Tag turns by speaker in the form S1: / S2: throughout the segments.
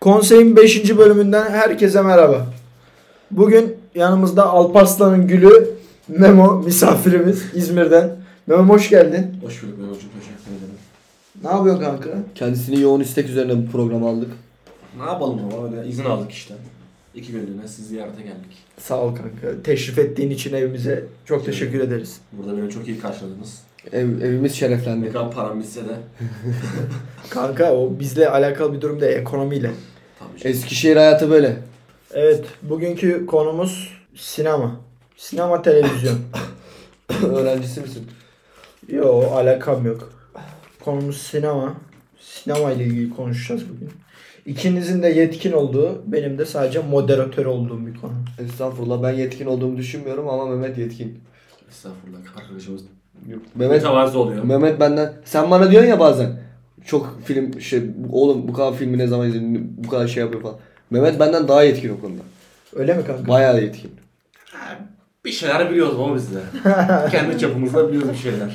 S1: Konseyin 5. bölümünden herkese merhaba. Bugün yanımızda Alparslan'ın gülü Memo misafirimiz İzmir'den. Memo hoş geldin.
S2: Hoş bulduk Mehmet'cim. Teşekkür ederim.
S1: Ne yapıyorsun kanka?
S3: Kendisini yoğun istek üzerine bu programı aldık.
S2: Ne yapalım ama öyle izin aldık işte. İki günlüğüne sizi ziyarete geldik.
S1: Sağ ol kanka. Teşrif ettiğin için evimize çok teşekkür ederiz.
S2: Burada beni çok iyi karşıladınız.
S3: Ev- evimiz
S2: Ne
S3: şereflendi.
S2: kadar param bitse de
S1: Kanka o bizle alakalı bir durum da ekonomiyle.
S2: tabii ki.
S3: Eskişehir hayatı böyle.
S1: Evet bugünkü konumuz sinema. Sinema televizyon.
S3: Öğrencisi misin?
S1: Yo alakam yok. Konumuz sinema. Sinema ile ilgili konuşacağız bugün. İkinizin de yetkin olduğu, benim de sadece moderatör olduğum bir konu.
S3: Estağfurullah ben yetkin olduğumu düşünmüyorum ama Mehmet yetkin.
S2: Estağfurullah arkadaşımız.
S3: Mehmet
S2: Mütevazı oluyor.
S3: Mehmet benden sen bana diyorsun ya bazen çok film şey oğlum bu kadar filmi ne zaman izledin bu kadar şey yapıyor falan. Mehmet benden daha yetkin o konuda.
S1: Öyle mi kanka?
S3: Bayağı yetkin.
S2: Ha, bir şeyler biliyoruz ama biz de. Kendi çapımızda biliyoruz bir şeyler.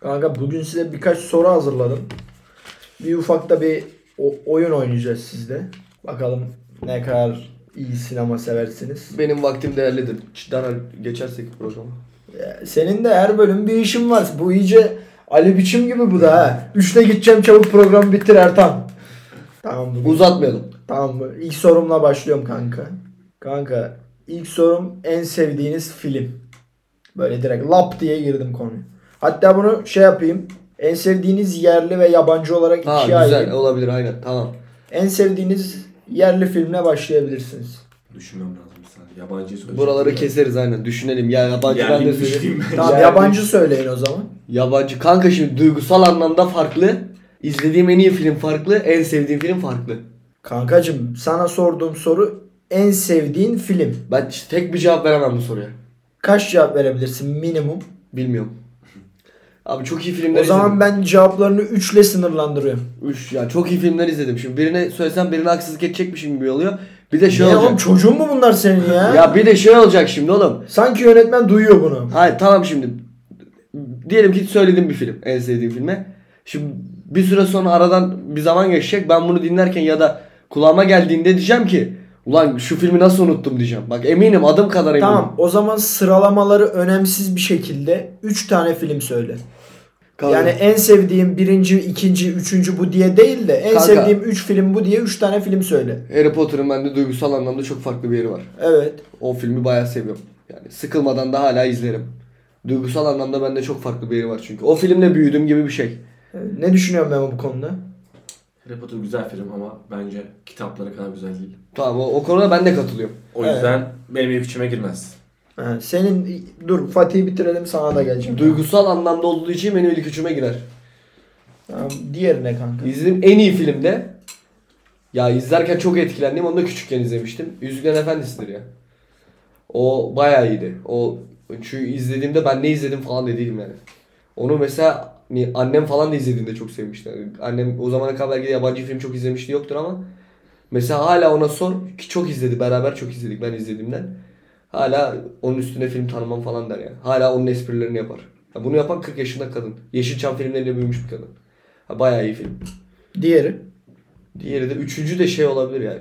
S1: Kanka bugün size birkaç soru hazırladım. Bir ufak da bir o- oyun oynayacağız sizle. Bakalım ne kadar iyi sinema seversiniz.
S3: Benim vaktim değerlidir. Cidden geçersek programı.
S1: Ee, Senin de her bölüm bir işin var. Bu iyice Ali biçim gibi bu da ha. Üçte gideceğim çabuk programı bitir Ertan. Tamam bugün.
S3: Uzatmayalım.
S1: Tamam mı? İlk sorumla başlıyorum kanka. Kanka ilk sorum en sevdiğiniz film. Böyle direkt lap diye girdim konuya. Hatta bunu şey yapayım. En sevdiğiniz yerli ve yabancı olarak
S3: Ha
S1: ikiye
S3: güzel
S1: ayırayım.
S3: olabilir aynen tamam.
S1: En sevdiğiniz yerli filmle başlayabilirsiniz.
S2: Düşünmem lazım sen. Yabancıyı söyleyeceğim.
S3: Buraları keseriz aynen düşünelim. Ya yabancı ben de
S2: Yerli
S3: söyleyeyim.
S2: düştüğüm ben.
S1: Tamam
S3: Yerli-
S1: yabancı söyleyin o zaman.
S3: Yabancı kanka şimdi duygusal anlamda farklı. İzlediğim en iyi film farklı, en sevdiğim film farklı.
S1: Kankacım sana sorduğum soru en sevdiğin film.
S3: Ben işte tek bir cevap veremem bu soruya.
S1: Kaç cevap verebilirsin minimum?
S3: Bilmiyorum. Abi çok iyi filmler
S1: O zaman
S3: izledim.
S1: ben cevaplarını 3 ile sınırlandırıyorum.
S3: Üç, ya çok iyi filmler izledim. Şimdi birine söylesem birine haksızlık edecekmişim gibi oluyor. Bir de şey
S1: Ne oğlum
S3: olacak.
S1: çocuğun mu bunlar senin ya?
S3: Ya bir de şey olacak şimdi oğlum.
S1: Sanki yönetmen duyuyor bunu.
S3: Hayır tamam şimdi. Diyelim ki söyledim bir film. En sevdiğim filme. Şimdi bir süre sonra aradan bir zaman geçecek. Ben bunu dinlerken ya da kulağıma geldiğinde diyeceğim ki Ulan şu filmi nasıl unuttum diyeceğim. Bak eminim adım kadar eminim.
S1: Tamam o zaman sıralamaları önemsiz bir şekilde 3 tane film söyle.
S3: Kanka,
S1: Yani en sevdiğim birinci, ikinci, üçüncü bu diye değil de en
S3: Kanka.
S1: sevdiğim 3 film bu diye 3 tane film söyle.
S3: Harry Potter'ın bende duygusal anlamda çok farklı bir yeri var.
S1: Evet.
S3: O filmi bayağı seviyorum. Yani sıkılmadan da hala izlerim. Duygusal anlamda bende çok farklı bir yeri var çünkü. O filmle büyüdüm gibi bir şey.
S1: Ne düşünüyorum ben bu konuda?
S2: Harry Potter güzel film ama bence kitapları kadar güzel değil.
S3: Tamam o, o konuda ben de katılıyorum.
S2: O
S1: Evet.
S2: yüzden benim ilk içime girmez.
S1: Ha, senin dur Fatih'i bitirelim sana da geleceğim.
S3: Duygusal anlamda olduğu için benim ilk üçüme girer.
S1: Tamam, diğerine kanka.
S3: İzlediğim en iyi filmde ya izlerken çok etkilendim. Onu da küçükken izlemiştim. Yüzüklerin Efendisi'dir ya. O bayağı iyiydi. O çünkü izlediğimde ben ne izledim falan da değilim yani. Onu mesela ni- annem falan da izlediğinde çok sevmişti. Yani annem o zamana kadar belki de yabancı film çok izlemişti yoktur ama mesela hala ona sor ki çok izledi beraber çok izledik ben izlediğimden. Hala onun üstüne film tanımam falan der yani. Hala onun esprilerini yapar. Ya bunu yapan 40 yaşında kadın. Yeşilçam filmleriyle büyümüş bir kadın. Ha, bayağı iyi film.
S1: Diğeri
S3: Diğeri de üçüncü de şey olabilir ya.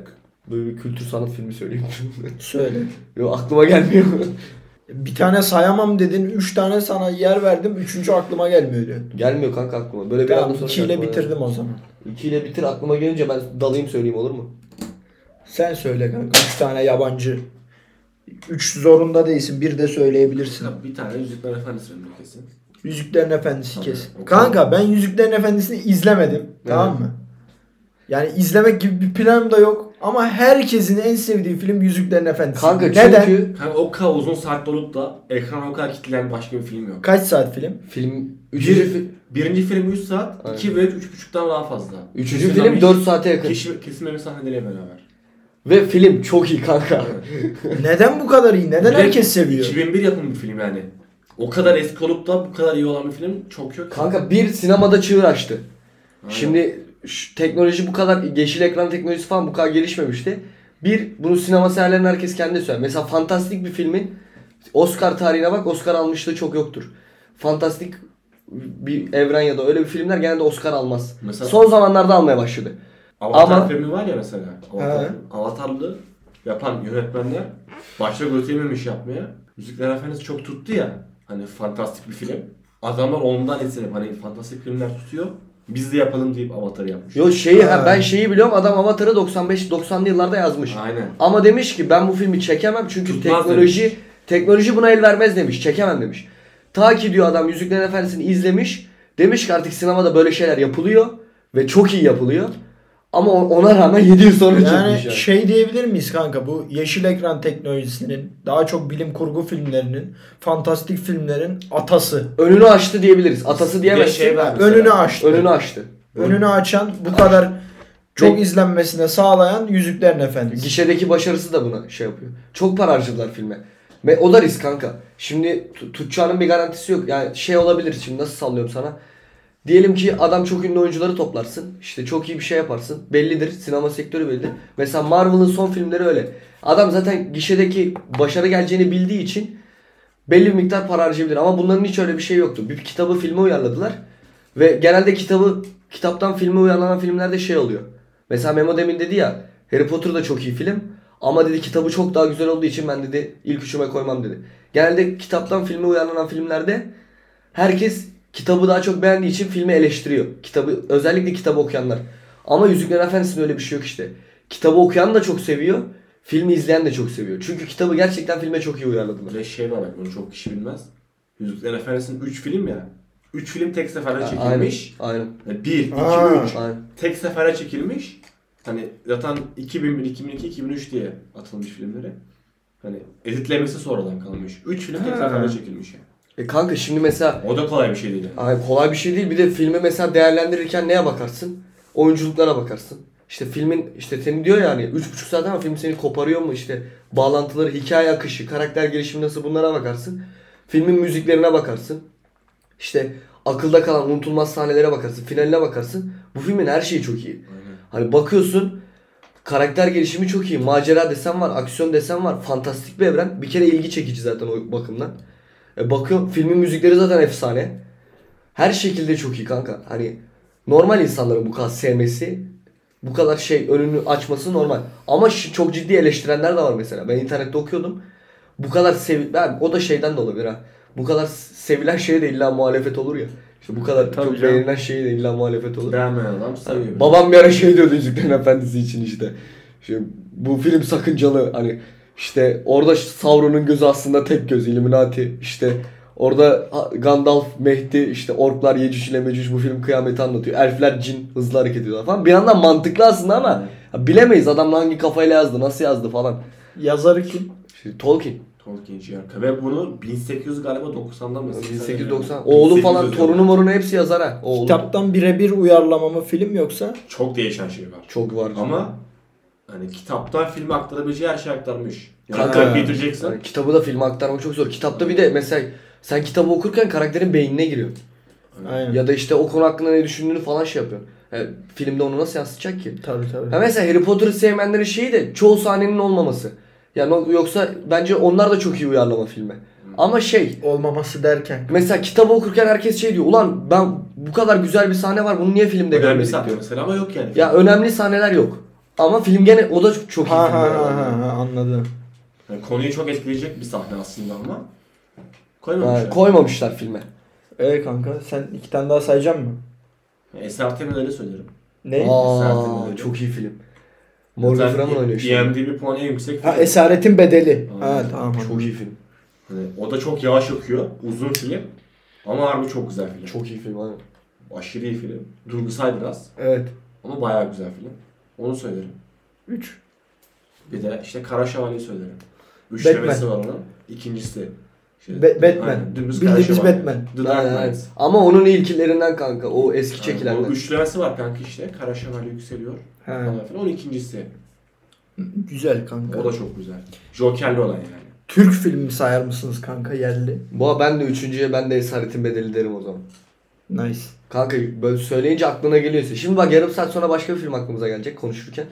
S3: Böyle bir kültür sanat filmi söyleyeyim.
S1: söyle.
S3: Yo, aklıma gelmiyor.
S1: Bir tane sayamam dedin, 3 tane sana yer verdim, üçüncü aklıma gelmiyor diyor.
S3: Gelmiyor kanka aklıma. Böyle bir
S1: Tamam
S3: anda sonra
S1: 2 ile
S3: aklıma
S1: bitirdim o zaman.
S3: geldi. İki ile bitir aklıma gelince ben dalayım söyleyeyim olur mu?
S1: Sen söyle kanka 3 tane yabancı. 3 zorunda değilsin, bir de söyleyebilirsin.
S2: Kitap bir tane Yüzükler Efendisi benim kesin.
S1: Yüzüklerin Efendisi
S2: Tabii,
S1: kes.
S2: o kadar.
S1: Kanka ben Yüzüklerin Efendisi'ni izlemedim. Tamam mı? Yani izlemek gibi bir planım da yok. Ama herkesin en sevdiği film Yüzüklerin Efendisi.
S3: Kanka
S1: Neden?
S3: çünkü
S2: Kanka o kadar uzun saat olup da ekrana o kadar kitleyen başka bir film yok.
S1: Kaç saat film?
S3: film üçüncü,
S2: Bir,
S3: fi-
S2: birinci film 3 saat,
S3: Aynen.
S2: 2 ve 3.5'dan daha fazla.
S3: üçüncü film 4 saate yakın.
S2: Keşif, kesilmemiş sahneleriyle beraber.
S3: Ve film çok iyi kanka.
S1: Neden bu kadar iyi? Neden
S2: Bir de
S1: herkes seviyor?
S2: 2001 yapımı bir film yani. O kadar eski olup da bu kadar iyi olan bir film çok yok.
S3: kanka bir sinemada çığır açtı.
S2: Aynen.
S3: Şimdi şu teknoloji bu kadar yeşil ekran teknolojisi falan bu kadar gelişmemişti. Bir bunu sinema severlerin herkes kendi söyler. Mesela fantastik bir filmin Oscar tarihine bak Oscar almışlığı çok yoktur. Fantastik bir evren ya da öyle bir filmler genelde Oscar almaz.
S2: Mesela-
S3: Son zamanlarda almaya başladı.
S2: Avatar
S3: Ama-
S2: filmi var ya mesela.
S1: He.
S2: Avatar, avatarlı yapan yönetmenler başta götürememiş yapmaya. Müzikler Efendisi çok tuttu ya. Hani fantastik bir film. Adamlar ondan etsinip hani fantastik filmler tutuyor. Biz de yapalım deyip Avatar'ı yapmış.
S3: Yo şeyi ha,
S1: Ha.
S3: ben şeyi biliyorum adam Avatar'ı 95 90'lı yıllarda yazmış.
S2: Aynen.
S3: Ama demiş ki ben bu filmi çekemem çünkü
S2: Tutmaz
S3: teknoloji
S2: demiş.
S3: teknoloji buna el vermez demiş. Çekemem demiş. Ta ki diyor adam Yüzüklerin Efendisi'ni izlemiş. Demiş ki artık sinemada böyle şeyler yapılıyor ve çok iyi yapılıyor. Ama o- ona rağmen 7 yıl sonra
S1: Yani
S3: çıkmış yani.
S1: şey diyebilir miyiz kanka bu yeşil ekran teknolojisinin daha çok bilim kurgu filmlerinin fantastik filmlerin atası.
S3: Önünü açtı diyebiliriz. Atası
S2: diyemez
S3: diyemezsin.
S1: Önünü açtı.
S3: Önünü açtı.
S1: Önünü açan bu kadar çok
S3: Ve-
S1: izlenmesine sağlayan Yüzüklerin Efendisi.
S3: Gişedeki başarısı da buna şey yapıyor. Çok para harcadılar filme. Ve o da risk kanka. Şimdi tu- tutacağının bir garantisi yok. Yani şey olabilir şimdi nasıl sallıyorum sana. Diyelim ki adam çok ünlü oyuncuları toplarsın. İşte çok iyi bir şey yaparsın. Bellidir. Sinema sektörü bellidir. Mesela Marvel'ın son filmleri öyle. Adam zaten gişedeki başarı geleceğini bildiği için belli bir miktar para harcayabilir. Ama bunların hiç öyle bir şey yoktu. Bir kitabı filme uyarladılar. Ve genelde kitabı kitaptan filme uyarlanan filmlerde şey oluyor. Mesela Memo demin dedi ya Harry Potter da çok iyi film. Ama dedi kitabı çok daha güzel olduğu için ben dedi ilk üçüme koymam dedi. Genelde kitaptan filme uyarlanan filmlerde herkes kitabı daha çok beğendiği için filmi eleştiriyor. Kitabı özellikle kitabı okuyanlar. Ama Yüzüklerin Efendisi'nde öyle bir şey yok işte. Kitabı okuyan da çok seviyor. Filmi izleyen de çok seviyor. Çünkü kitabı gerçekten filme çok iyi uyarladılar.
S2: Bir de şey var bak bunu çok kişi bilmez. Yüzüklerin Efendisi'nin 3 film ya. 3 film tek seferde çekilmiş.
S3: Aynen.
S2: Yani 1, 2,
S1: Aa.
S2: 3
S3: Aynen.
S2: tek sefere çekilmiş. Hani zaten 2001, 2002, 2003 diye atılmış filmleri. Hani editlemesi sonradan kalmış. 3 film tek
S1: Ha.
S2: seferde çekilmiş yani.
S3: E kanka şimdi mesela
S2: O da kolay bir şey değil. yani.
S3: Ay kolay bir şey değil. Bir de filmi mesela değerlendirirken neye bakarsın? Oyunculuklara bakarsın. İşte filmin işte seni diyor yani 3,5 saat ama film seni koparıyor mu? İşte bağlantıları, hikaye akışı, karakter gelişimi nasıl bunlara bakarsın. Filmin müziklerine bakarsın. İşte akılda kalan unutulmaz sahnelere bakarsın, finaline bakarsın. Bu filmin her şeyi çok iyi. Hani bakıyorsun karakter gelişimi çok iyi. Macera desen var, aksiyon desen var. Fantastik bir evren. Bir kere ilgi çekici zaten o bakımdan. E bakıyorum filmin müzikleri zaten efsane. Her şekilde çok iyi kanka. Hani normal insanların bu kadar sevmesi, bu kadar şey önünü açması normal. Ama şi- çok ciddi eleştirenler de var mesela. Ben internette okuyordum. Bu kadar sev ben o da şeyden de olabilir ha. Bu kadar sevilen şeye de illa muhalefet olur ya. İşte bu kadar
S2: Tabii
S3: çok
S2: canım.
S3: beğenilen şeye de illa muhalefet olur.
S2: Beğenmeyen adam seviyor.
S3: Babam bir ara şey diyordu Yüzüklerin Efendisi için işte. Şimdi bu film sakıncalı hani işte orada Sauron'un gözü aslında tek göz Illuminati işte orada ha- Gandalf, Mehdi işte orklar Yecüc ile Mecüc bu film kıyameti anlatıyor. Elfler cin hızlı hareket ediyorlar falan. Bir yandan mantıklı aslında ama ya bilemeyiz adam hangi kafayla yazdı, nasıl yazdı falan.
S1: Yazarı kim?
S3: Şimdi Tolkien
S2: Tolkien Ciğer. Ve bunu 1800 galiba 90'dan mı?
S3: 1890 oğlu falan
S2: 1890.
S3: torunu morunu hepsi yazar ha. Oğlu.
S1: Kitaptan birebir uyarlama mı film yoksa?
S2: Çok değişen şey var.
S3: çok var.
S2: Ama hani kitaptan filme aktarabileceği her şey aktarmış. Yani
S3: Kanka.
S2: Peter Jackson.
S3: Yani kitabı da filme aktarmak çok zor. Kitapta bir de mesela sen kitabı okurken karakterin beynine giriyor.
S1: Aynen.
S3: Ya da işte o konu hakkında ne düşündüğünü falan şey yapıyor. Yani filmde onu nasıl yansıtacak ki?
S1: Tabii tabii.
S3: Ha mesela Harry Potter'ı sevmeyenlerin şeyi de çoğu sahnenin olmaması. Yani o- yoksa bence onlar da çok iyi uyarlama filme. Ama şey
S1: Olmaması derken.
S3: mesela kitabı okurken herkes şey diyor. Ulan ben bu kadar güzel bir sahne var bunu niye filmde
S2: Önemli
S3: görmedik
S2: sahne
S3: diyor.
S2: mesela ama yok yani.
S3: Ya önemli sahneler yok. Ama film gene o da çok iyi
S1: Ha ha
S3: filmler.
S1: ha,
S3: var.
S1: ha, ha, anladım.
S2: Yani konuyu çok etkileyecek bir sahne aslında ama. Koymamışlar.
S3: Ha, koymamışlar filme.
S1: Ee kanka sen iki tane daha sayacak mısın?
S2: Eser temelleri söylerim.
S1: Ne?
S3: Aa,
S2: Sertinde de.
S3: çok iyi film. Morgan Freeman oynuyor işte.
S2: IMDb puanı en yüksek.
S1: Ha
S3: e-
S2: film.
S1: Esaretin Bedeli.
S2: Aynen.
S1: Ha tamam.
S3: Çok iyi film.
S2: Hani o da çok yavaş akıyor. Uzun film. Ama harbi çok güzel film.
S3: Çok iyi film aynen.
S2: Aşırı iyi film. Duygusal biraz.
S1: Evet.
S2: Ama bayağı güzel film. Onu söylerim.
S1: 3.
S2: Bir de işte Kara Şövalye'yi söylerim. Üçlemesi var onun. İkincisi. Şey,
S1: Be- Batman.
S2: dümdüz
S1: Bildiğimiz
S2: Kara Şövalye.
S1: Batman.
S2: The Dark
S3: Aynen, aynen.
S2: Knight.
S3: Ama onun ilkilerinden kanka. O eski
S2: Yani
S3: çekilenler.
S2: o üçlemesi var kanka işte. Kara Şövalye yükseliyor.
S1: Ha.
S2: Falan filan. Onun ikincisi.
S1: Güzel kanka.
S2: O da çok güzel. Joker'li olan yani.
S1: Türk filmi sayar mısınız kanka yerli?
S3: Bu ben de üçüncüye ben de Esaretin Bedeli derim o zaman.
S1: Nice.
S3: Kanka böyle söyleyince aklına geliyorsa. Şimdi bak yarım saat sonra başka bir film aklımıza gelecek konuşurken.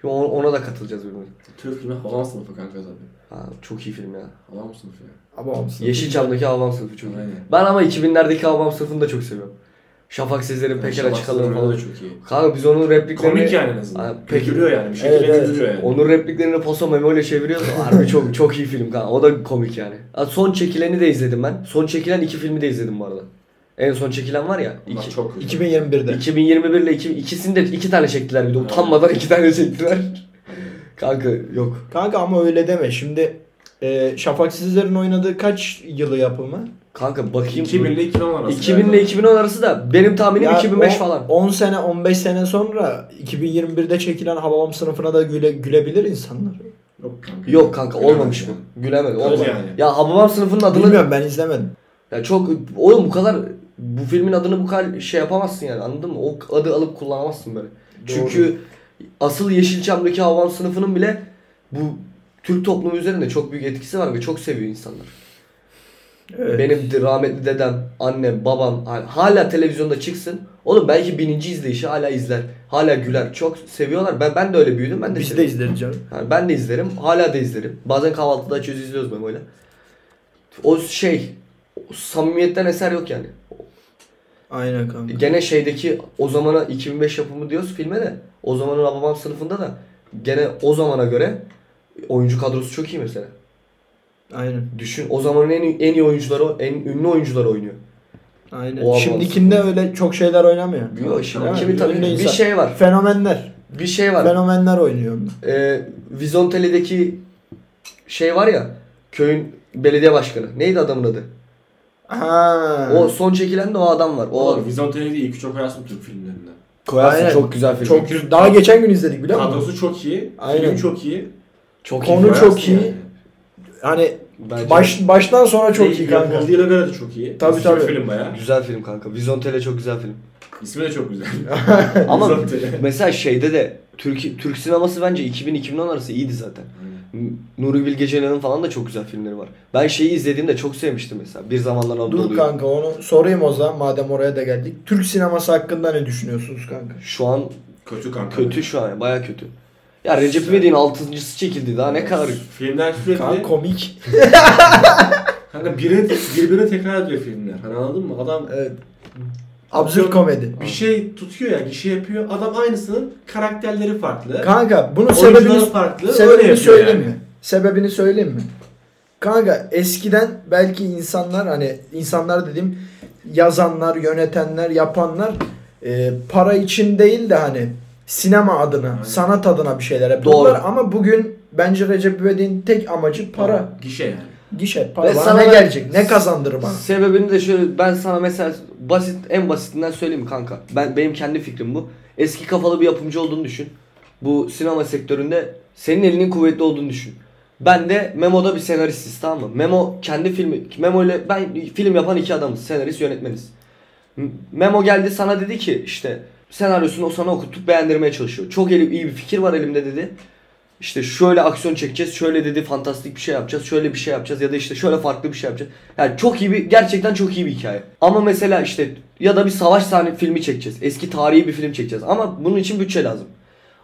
S3: Şimdi ona, ona da katılacağız birbirimize.
S2: Türk filmi havan sınıfı kanka zaten.
S3: Ha, çok iyi film ya.
S2: Havan sınıfı ya.
S1: Ama olsun.
S3: Yeşilçam'daki Havam Sınıfı çok iyi.
S2: Aynen.
S3: Ben ama 2000'lerdeki Havam Sınıfı'nı da çok seviyorum. Şafak Sezer'in Peker'e
S2: Şabak
S3: çıkalım
S2: Sezer'in
S3: falan.
S2: da çok iyi.
S3: Kanka biz onun repliklerini...
S2: Komik yani en azından.
S3: Ha, peki.
S2: Güldürüyor yani. Bir şekilde
S1: Evet, evet.
S2: güldürüyor yani.
S3: Onun repliklerini Poso Memo'yla çeviriyoruz. Harbi çok çok iyi film kanka. O da komik yani. Ha, Son çekileni de izledim ben. Son çekilen iki filmi de izledim bu arada. En son çekilen var ya.
S2: Onlar
S3: iki-
S2: çok kötü.
S1: 2021'de.
S3: 2021 ile iki, ikisini de iki tane çektiler bir de. Utanmadan iki tane çektiler. kanka yok.
S1: Kanka ama öyle deme. Şimdi e, Şafak Sezer'in oynadığı kaç yılı yapımı?
S3: Kanka bakayım.
S2: 2000 ile 2010 arası.
S3: 2000 ile 2010 arası da benim tahminim
S1: Ya
S3: 2005
S1: on-
S3: falan.
S1: 10 sene 15 sene sonra 2021'de çekilen Hababam sınıfına da güle, gülebilir insanlar.
S2: Yok kanka.
S3: Yok kanka
S2: Bilemem
S3: olmamış
S2: yani.
S3: bu. Gülemedi.
S2: Tabii
S3: Olmadı.
S2: yani.
S3: Ya Hababam sınıfının adını
S1: Bilmiyorum ben izlemedim.
S3: Ya çok oğlum bu kadar bu filmin adını bu kadar şey yapamazsın yani anladın mı? O adı alıp kullanamazsın böyle. Çünkü asıl Yeşilçam'daki havam sınıfının bile bu Türk toplumu üzerinde çok büyük etkisi var ve çok seviyor insanlar.
S1: Evet.
S3: Benim de rahmetli dedem, annem, babam hal- hala televizyonda çıksın. Oğlum belki bininci izleyişi hala izler. Hala güler. Çok seviyorlar. Ben ben de öyle büyüdüm. Ben de
S1: Biz de
S3: seviyorum.
S1: izleriz canım.
S3: Yani ben de izlerim. Hala da izlerim. Bazen kahvaltıda açıyoruz izliyoruz böyle böyle. O şey o samimiyetten eser yok yani.
S1: Aynen kanka.
S3: Gene şeydeki o zamana 2005 yapımı diyoruz filme de. O zamanın Hababam sınıfında da gene o zamana göre oyuncu kadrosu çok iyi mesela.
S1: Aynen.
S3: Düşün o zamanın en, en iyi oyuncuları, en ünlü oyuncuları oynuyor.
S1: Aynen.
S3: O Hababam
S1: Şimdikinde öyle çok şeyler oynamıyor.
S3: Yok şimdi
S1: Değil mi?
S3: kimi tanıyor?
S1: Ünlü
S3: Bir
S1: insan-
S3: şey var.
S1: Fenomenler.
S3: Bir şey var.
S1: Fenomenler oynuyor onda.
S3: Ee, Vizontele'deki şey var ya köyün belediye başkanı. Neydi adamın adı?
S1: Ha.
S3: O son çekilen de o adam var. O
S2: O Vizonteli değil. Küçük Hayasım Türk filmlerinden.
S3: Koyarsın
S1: Aynen.
S3: çok güzel film.
S1: çok güzel. Daha geçen gün izledik biliyor musun?
S2: Kadrosu çok iyi.
S1: Aynen.
S2: Film çok iyi.
S3: çok
S1: Konu
S3: film.
S1: çok
S2: Koyarsın
S1: iyi.
S2: yani.
S1: Hani
S3: Bence
S1: baş, baştan sonra çok
S2: Değil,
S1: iyi kanka.
S2: Yapıldığına göre de çok iyi.
S1: Tabii,
S2: Eski bir
S1: tabii.
S2: film bayağı.
S3: güzel film kanka. Vizontele çok güzel film.
S2: İsmi de çok güzel.
S3: Ama
S2: Vizontele.
S3: mesela şeyde de Türk Türk sineması bence 2000-2010 arası iyiydi zaten. N- Nuri Bilge Ceylan'ın falan da çok güzel filmleri var. Ben şeyi izlediğimde çok sevmiştim mesela. Bir zamanlar
S1: Dur
S3: Anadolu'yu.
S1: kanka onu sorayım o zaman madem oraya da geldik. Türk sineması hakkında ne düşünüyorsunuz kanka?
S3: Şu an
S2: Kötü kanka.
S3: kötü şu an baya kötü. Ya Recep İvedik'in 6.sı çekildi daha ne kadar
S2: Filmler sürekli
S1: Kanka
S2: kanka,
S1: komik.
S2: birbirine, birbirine tekrar ediyor filmler. Hani anladın mı? Adam
S1: Evet. Absürt komedi.
S2: bir şey tutuyor ya, bir şey yapıyor. Adam aynısının karakterleri farklı.
S1: Kanka bunun
S2: Oyuncuları
S1: sebebini,
S2: farklı, öyle
S1: sebebini
S2: yapıyor
S1: söyleyeyim
S2: yani.
S1: mi? Sebebini söyleyeyim mi? Kanka eskiden belki insanlar hani insanlar dediğim yazanlar, yönetenler, yapanlar e, para için değil de hani sinema adına,
S2: Aynen.
S1: sanat adına bir şeyler
S3: Doğru.
S1: yapıyorlar ama bugün bence Recep İvedik'in tek amacı para.
S2: Gişe yani.
S1: Gişe, para.
S3: Ve
S1: Bana
S3: sana
S1: ne
S3: ben-
S1: gelecek? Ne kazandırır bana?
S3: Sebebini de şöyle ben sana mesela basit en basitinden söyleyeyim kanka. Ben benim kendi fikrim bu. Eski kafalı bir yapımcı olduğunu düşün. Bu sinema sektöründe senin elinin kuvvetli olduğunu düşün. Ben de Memo'da bir senaristiz tamam mı? Memo kendi filmi Memo ile ben film yapan iki adamız. Senarist yönetmeniz. M- Memo geldi sana dedi ki işte senaryosunu o sana okuttup beğendirmeye çalışıyor. Çok eli- iyi bir fikir var elimde dedi. İşte şöyle aksiyon çekeceğiz, şöyle dedi fantastik bir şey yapacağız, şöyle bir şey yapacağız ya da işte şöyle farklı bir şey yapacağız. Yani çok iyi bir, gerçekten çok iyi bir hikaye. Ama mesela işte ya da bir savaş sahne filmi çekeceğiz. Eski tarihi bir film çekeceğiz ama bunun için bütçe lazım.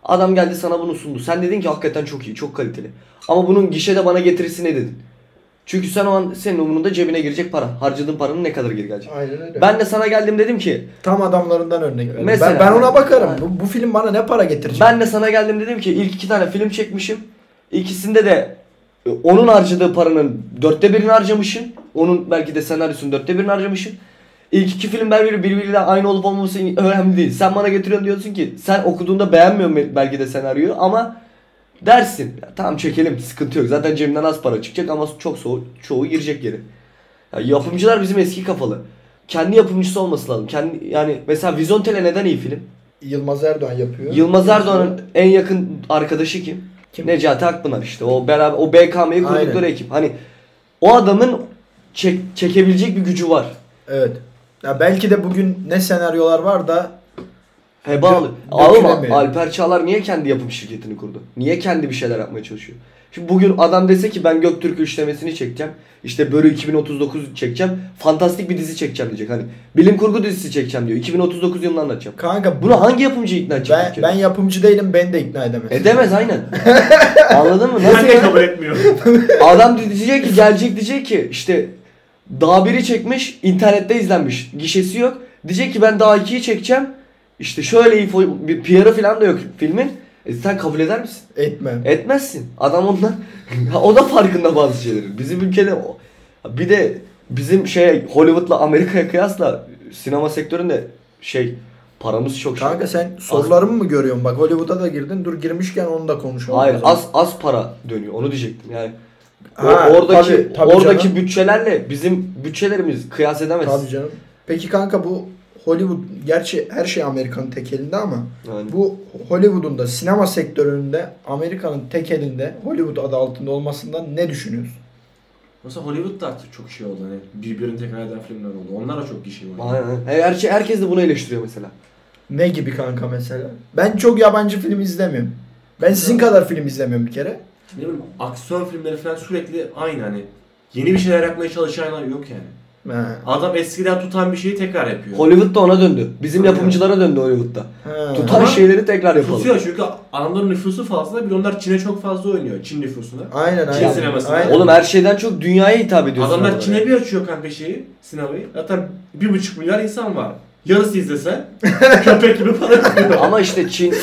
S3: Adam geldi sana bunu sundu. Sen dedin ki hakikaten çok iyi, çok kaliteli. Ama bunun gişede bana getirisi ne dedin? Çünkü sen o an senin umurunda cebine girecek para. Harcadığın paranın ne kadar geri gelecek.
S1: Aynen öyle.
S3: Ben de sana geldim dedim ki
S1: Tam adamlarından örnek veriyorum. ben,
S3: Mesela-
S1: ben ona bakarım. Bu, bu film bana ne para getirecek?
S3: Ben de sana geldim dedim ki ilk iki tane film çekmişim. İkisinde de e, onun harcadığı paranın dörtte birini harcamışım. Onun belki de senaryosunun dörtte birini harcamışım. İlk iki film birbiri birbiriyle aynı olup olmaması önemli değil. Sen bana getiriyorsun diyorsun ki sen okuduğunda beğenmiyorsun belki de senaryoyu ama dersin. Ya, tamam çekelim sıkıntı yok. Zaten cebimden az para çıkacak ama çok soğu, çoğu girecek geri. Ya, yapımcılar bizim eski kafalı. Kendi yapımcısı olması lazım. Kendi yani mesela Vizontele neden iyi film?
S1: Yılmaz Erdoğan yapıyor.
S3: Yılmaz Erdoğan'ın en yakın arkadaşı kim?
S1: Kim?
S3: Necati Akpınar işte. O beraber o BKM'yi kurdukları
S1: Aynen.
S3: ekip. Hani o adamın çek, çekebilecek bir gücü var.
S1: Evet. Ya belki de bugün ne senaryolar var da
S3: Hebalı.
S1: Dö-
S3: Oğlum
S1: dökülemiyor.
S3: Alper Çağlar niye kendi yapım şirketini kurdu? Niye kendi bir şeyler yapmaya çalışıyor? Şimdi bugün adam dese ki ben Göktürk üçlemesini çekeceğim. İşte Börü 2039 çekeceğim. Fantastik bir dizi çekeceğim diyecek. Hani bilim kurgu dizisi çekeceğim diyor. 2039 yılını anlatacağım.
S1: kanka bunu
S3: Bunu hangi yapımcı ikna edecek?
S1: ben,
S3: Türkiye'de?
S1: ben yapımcı değilim beni de ikna edemez.
S3: Edemez aynen. Anladın mı?
S2: Ben
S3: Nasıl
S2: de
S3: yani?
S2: kabul etmiyorum.
S3: Adam diyecek ki gelecek diyecek ki işte daha biri çekmiş internette izlenmiş gişesi yok. Diyecek ki ben daha 2'yi çekeceğim. İşte şöyle info, bir PR'ı falan da yok filmin. E sen kabul eder misin?
S1: Etmem.
S3: Etmezsin. Adam ondan Ha, o da farkında bazı şeylerin. Bizim ülkede o- bir de bizim şey Hollywood'la Amerika'ya kıyasla sinema sektöründe şey paramız çok şey.
S1: Kanka sen sorularımı mı görüyorsun? Bak Hollywood'a da girdin. Dur girmişken onu da konuşalım.
S3: Hayır
S1: o zaman.
S3: az az para dönüyor. Onu diyecektim. Yani o-
S1: Ha,
S3: oradaki
S1: tabii, tabii
S3: oradaki
S1: canım.
S3: bütçelerle bizim bütçelerimiz kıyas edemez.
S1: Tabii canım. Peki kanka bu Hollywood gerçi her şey Amerika'nın tek elinde ama
S3: Yani.
S1: bu Hollywood'un da sinema sektöründe Amerika'nın tek elinde Hollywood adı altında olmasından ne düşünüyorsun?
S2: Mesela Hollywood'da artık çok şey oldu hani birbirini tekrar eden filmler oldu. Onlara çok kişi var.
S3: Aynen. aynen. Her, şey- herkes de bunu eleştiriyor mesela.
S1: Ne gibi kanka mesela? Ben çok yabancı film izlemiyorum. Ben sizin kadar film izlemiyorum bir kere.
S2: Ne bileyim aksiyon filmleri falan sürekli aynı hani. Yeni bir şeyler yapmaya çalışanlar yok yani.
S1: Ha.
S2: Adam eskiden tutan bir şeyi tekrar yapıyor.
S3: Hollywood da ona döndü. Bizim
S2: Aynen.
S3: yapımcılara döndü Hollywood'da.
S1: Ha.
S3: Tutan
S2: Ama
S3: şeyleri tekrar yapalım.
S2: Tutuyor çünkü adamların nüfusu fazla bir de onlar Çin'e çok fazla oynuyor. Çin nüfusuna.
S1: Aynen
S2: Çin
S1: aynen.
S2: sineması.
S1: Aynen.
S3: Oğlum her şeyden çok dünyaya hitap ediyorsun.
S2: Adamlar
S3: orada.
S2: Çin'e bir açıyor kanka şeyi, sinemayı. Zaten bir buçuk milyar insan var. Yarısı izlese köpek gibi para kazanıyor.
S3: Ama işte Çin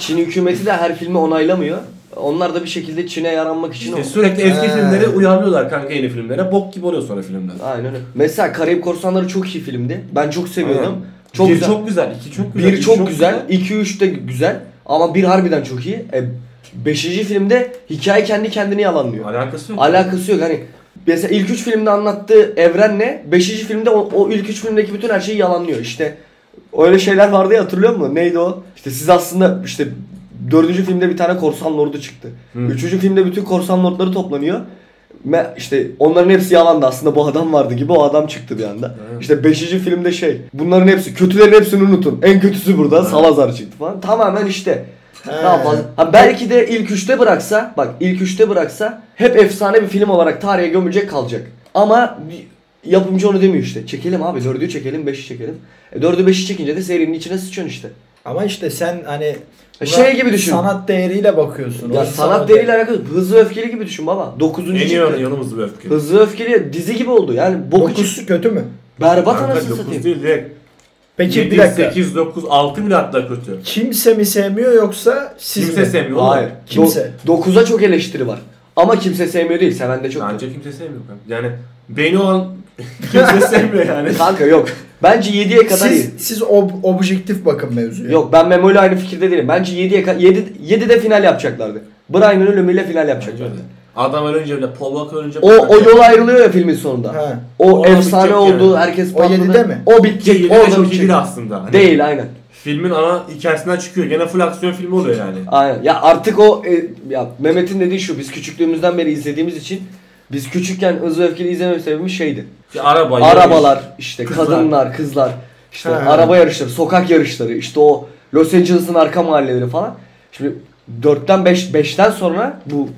S3: Çin hükümeti de her filmi onaylamıyor. Onlar da bir şekilde Çin'e yaranmak için
S2: İşte
S3: o.
S2: sürekli eski
S1: Ha.
S2: filmleri uyarlıyorlar kanka yeni filmlere. Bok gibi oluyor sonra filmler.
S3: Aynen öyle. Mesela Karayip Korsanları çok iyi filmdi. Ben çok seviyordum.
S2: Aynen.
S3: Çok
S2: bir
S3: güzel.
S2: çok güzel, iki çok güzel.
S3: bir
S2: üç
S3: çok, güzel, 2 3 de güzel ama bir harbiden çok iyi. E, beşinci filmde hikaye kendi kendini yalanlıyor.
S2: Alakası yok.
S3: Alakası yok hani. Mesela ilk üç filmde anlattığı evrenle beşinci filmde o, o ilk üç filmdeki bütün her şeyi yalanlıyor. İşte öyle şeyler vardı ya hatırlıyor musun? Neydi o? İşte siz aslında işte dördüncü filmde bir tane korsan lordu çıktı.
S2: Hı.
S3: Üçüncü filmde bütün korsan lordları toplanıyor. Me- işte onların hepsi yalandı aslında bu adam vardı gibi o adam çıktı bir anda.
S2: Evet.
S3: İşte beşinci filmde şey bunların hepsi kötülerin hepsini unutun. En kötüsü burada
S2: Evet.
S3: Salazar çıktı falan. Tamamen işte
S1: He.
S3: ne yapalım? Ha belki de ilk üçte bıraksa, bak ilk üçte bıraksa hep efsane bir film olarak tarihe gömülecek kalacak. Ama bir- yapımcı onu demiyor işte. Çekelim abi dördü çekelim, beşi çekelim. E dördü beşi çekince de serinin içine sıçıyorsun işte.
S1: Ama işte sen hani
S3: E şey gibi düşün.
S1: Sanat değeriyle bakıyorsun.
S3: ya
S1: O değeri-
S3: sanat değeriyle alakalı hızlı ve öfkeli gibi düşün baba. Dokuzuncu
S2: En iyi
S3: çıktı.
S2: örneği yanımızda bir öfke.
S3: Hızlı ve öfkeli dizi gibi oldu yani boku
S1: Dokuzu
S3: çıktı.
S1: kötü mü?
S3: Berbat
S2: Kanka
S3: anasını
S2: dokuz
S3: satayım.
S2: değil direkt.
S1: Peki
S2: 7,
S1: bir dakika.
S2: 8, 9, 6 bile hatta kötü.
S1: Kimse mi sevmiyor yoksa siz
S2: Kimse
S1: mi?
S2: sevmiyor. oğlum.
S3: Hayır.
S1: Kimse.
S3: 9'a çok eleştiri var. Ama kimse sevmiyor değil. Seven de çok.
S2: Bence kimse sevmiyor kanka. Yani beyni olan kimse sevmiyor yani.
S3: Kanka yok. Bence 7'ye kadar iyi.
S1: Siz, siz ob- objektif bakın mevzuya.
S3: Yok ben Memo ile aynı fikirde değilim. Bence 7'ye ka- 7 7'de final yapacaklardı. Brian'ın ölümüyle final yapacaklardı.
S2: Adam ölünce bile, Polvak ölünce
S3: O o yol ayrılıyor ya filmin sonunda.
S1: Ha.
S3: O
S2: O
S3: efsane
S2: bitecek
S3: oldu.
S2: yani.
S3: Herkes
S1: O
S3: patladı.
S1: 7'de mi?
S3: O bitecek.
S2: Yedi de
S3: Orada
S2: Şey, çok iyi
S3: bitecek.
S2: değil aslında. Hani
S3: Değil aynen.
S2: Filmin ana hikayesinden çıkıyor. Gene full aksiyon filmi oluyor yani.
S3: Aynen. Ya artık o e, ya Mehmet'in dediği şu biz küçüklüğümüzden beri izlediğimiz için biz küçükken hızlı öfkeli izleme sebebimiz şeydi.
S2: İşte araba,
S3: Arabalar, işte
S2: Kızlar.
S3: kadınlar, kızlar, işte
S1: He.
S3: araba yarışları, sokak yarışları, işte o Los Angeles'ın arka mahalleleri falan. Şimdi 4'ten 5 5'ten sonra bu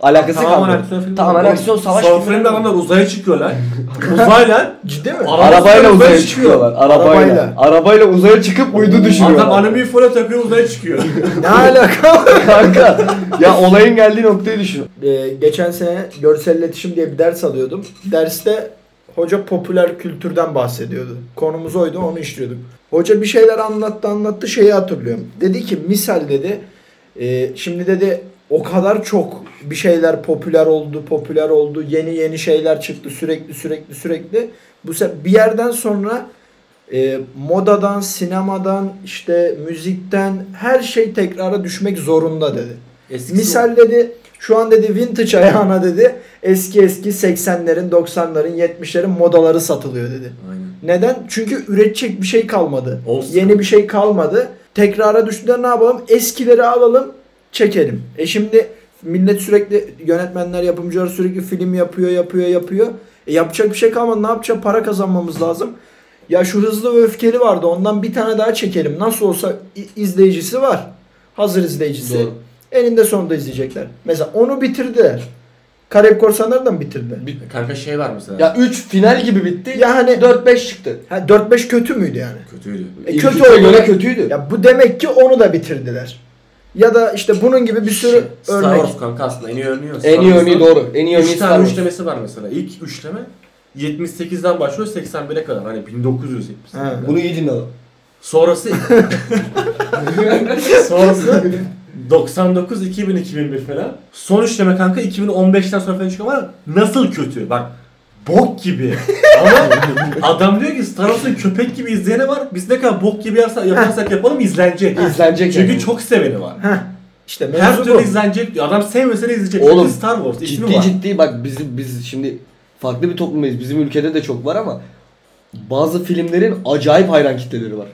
S3: alakası
S2: Tamamen
S3: kalmadı.
S2: aksiyon filmi.
S3: Tamamen
S2: Oğlum,
S3: aksiyon savaş.
S2: Son
S3: filmi.
S2: filmde adamlar uzaya çıkıyorlar. Uzayla
S1: Ciddi mi?
S2: Ara-
S3: arabayla
S2: Arabayla
S3: uzaya
S2: çıkıyor.
S3: çıkıyorlar. Arabayla.
S1: Arabayla.
S3: Arabayla, uzaya çıkıp uydu düşürüyorlar.
S2: adam alüminyum folyo takıyor uzaya çıkıyor.
S1: ne alaka?
S3: Kanka ya olayın geldiği noktayı düşün.
S1: Ee, geçen sene görsel iletişim diye bir ders alıyordum. Derste hoca popüler kültürden bahsediyordu. Konumuz oydu onu işliyorduk. Hoca bir şeyler anlattı anlattı şeyi hatırlıyorum. Dedi ki misal dedi e, şimdi dedi o kadar çok bir şeyler popüler oldu popüler oldu yeni yeni şeyler çıktı sürekli sürekli sürekli. Bu se- bir yerden sonra e, modadan sinemadan işte müzikten her şey tekrara düşmek zorunda dedi.
S2: Eskisi
S1: Misal dedi şu an dedi vintage ayağına dedi eski eski 80'lerin 90'ların 70'lerin modaları satılıyor dedi.
S2: Aynen.
S1: Neden? Çünkü üretecek bir şey kalmadı.
S2: Old school.
S1: Yeni bir şey kalmadı. Tekrara düştüler ne yapalım? Eskileri alalım çekelim. E şimdi millet sürekli yönetmenler yapımcılar sürekli film yapıyor yapıyor yapıyor. E yapacak bir şey kalmadı ne yapacağız? Para kazanmamız lazım. Ya şu hızlı ve öfkeli vardı ondan bir tane daha çekelim. Nasıl olsa i- izleyicisi var. Hazır izleyicisi.
S3: Doğru.
S1: Eninde sonunda izleyecekler. Mesela onu bitirdiler. Karayip Korsanları da mı bitirdi?
S2: Kanka şey var mesela.
S3: Ya 3 final gibi bitti.
S1: Ya hani-
S3: 4 5 çıktı.
S1: Ha, 4-5 kötü müydü yani?
S2: Kötüydü.
S1: E,
S3: İlk
S1: kötü
S3: üçe
S1: oynadı.
S3: göre kötüydü.
S1: Ya bu demek ki onu da bitirdiler. Ya da işte bunun gibi bir
S3: Şey,
S1: sürü
S2: Star
S1: örnek.
S2: Wars kanka aslında en iyi örneği o. Star
S3: en iyi
S2: Wars'ta
S3: örneği doğru. En iyi örneği
S2: Üç
S3: Star
S2: tane
S3: Wars.
S2: üçlemesi var mesela. İlk üçleme 78'den başlıyor 81'e kadar. Hani 1970.
S1: He.
S3: Bunu iyi dinle lan.
S2: Sonrası sonrası 99 2000 2001 falan. Son işleme kanka 2015'ten sonra falan çıkıyor ama nasıl kötü? Bak bok gibi. Ama adam diyor ki Star Wars'ın köpek gibi izleyeni var. Biz ne kadar bok gibi yaparsak, yaparsak yapalım izlenecek.
S3: İzlenecek
S2: Çünkü
S3: yani.
S2: çok seveni var.
S1: İşte
S2: Her
S1: mevzu
S2: türlü
S1: bu.
S2: izlenecek diyor. Adam sevmese de izleyecek.
S3: Oğlum,
S2: Çünkü Star Wars ismi
S3: Ciddi
S2: var.
S3: ciddi bak biz, biz şimdi farklı bir toplumdayız. Bizim ülkede de çok var ama bazı filmlerin acayip hayran kitleleri var.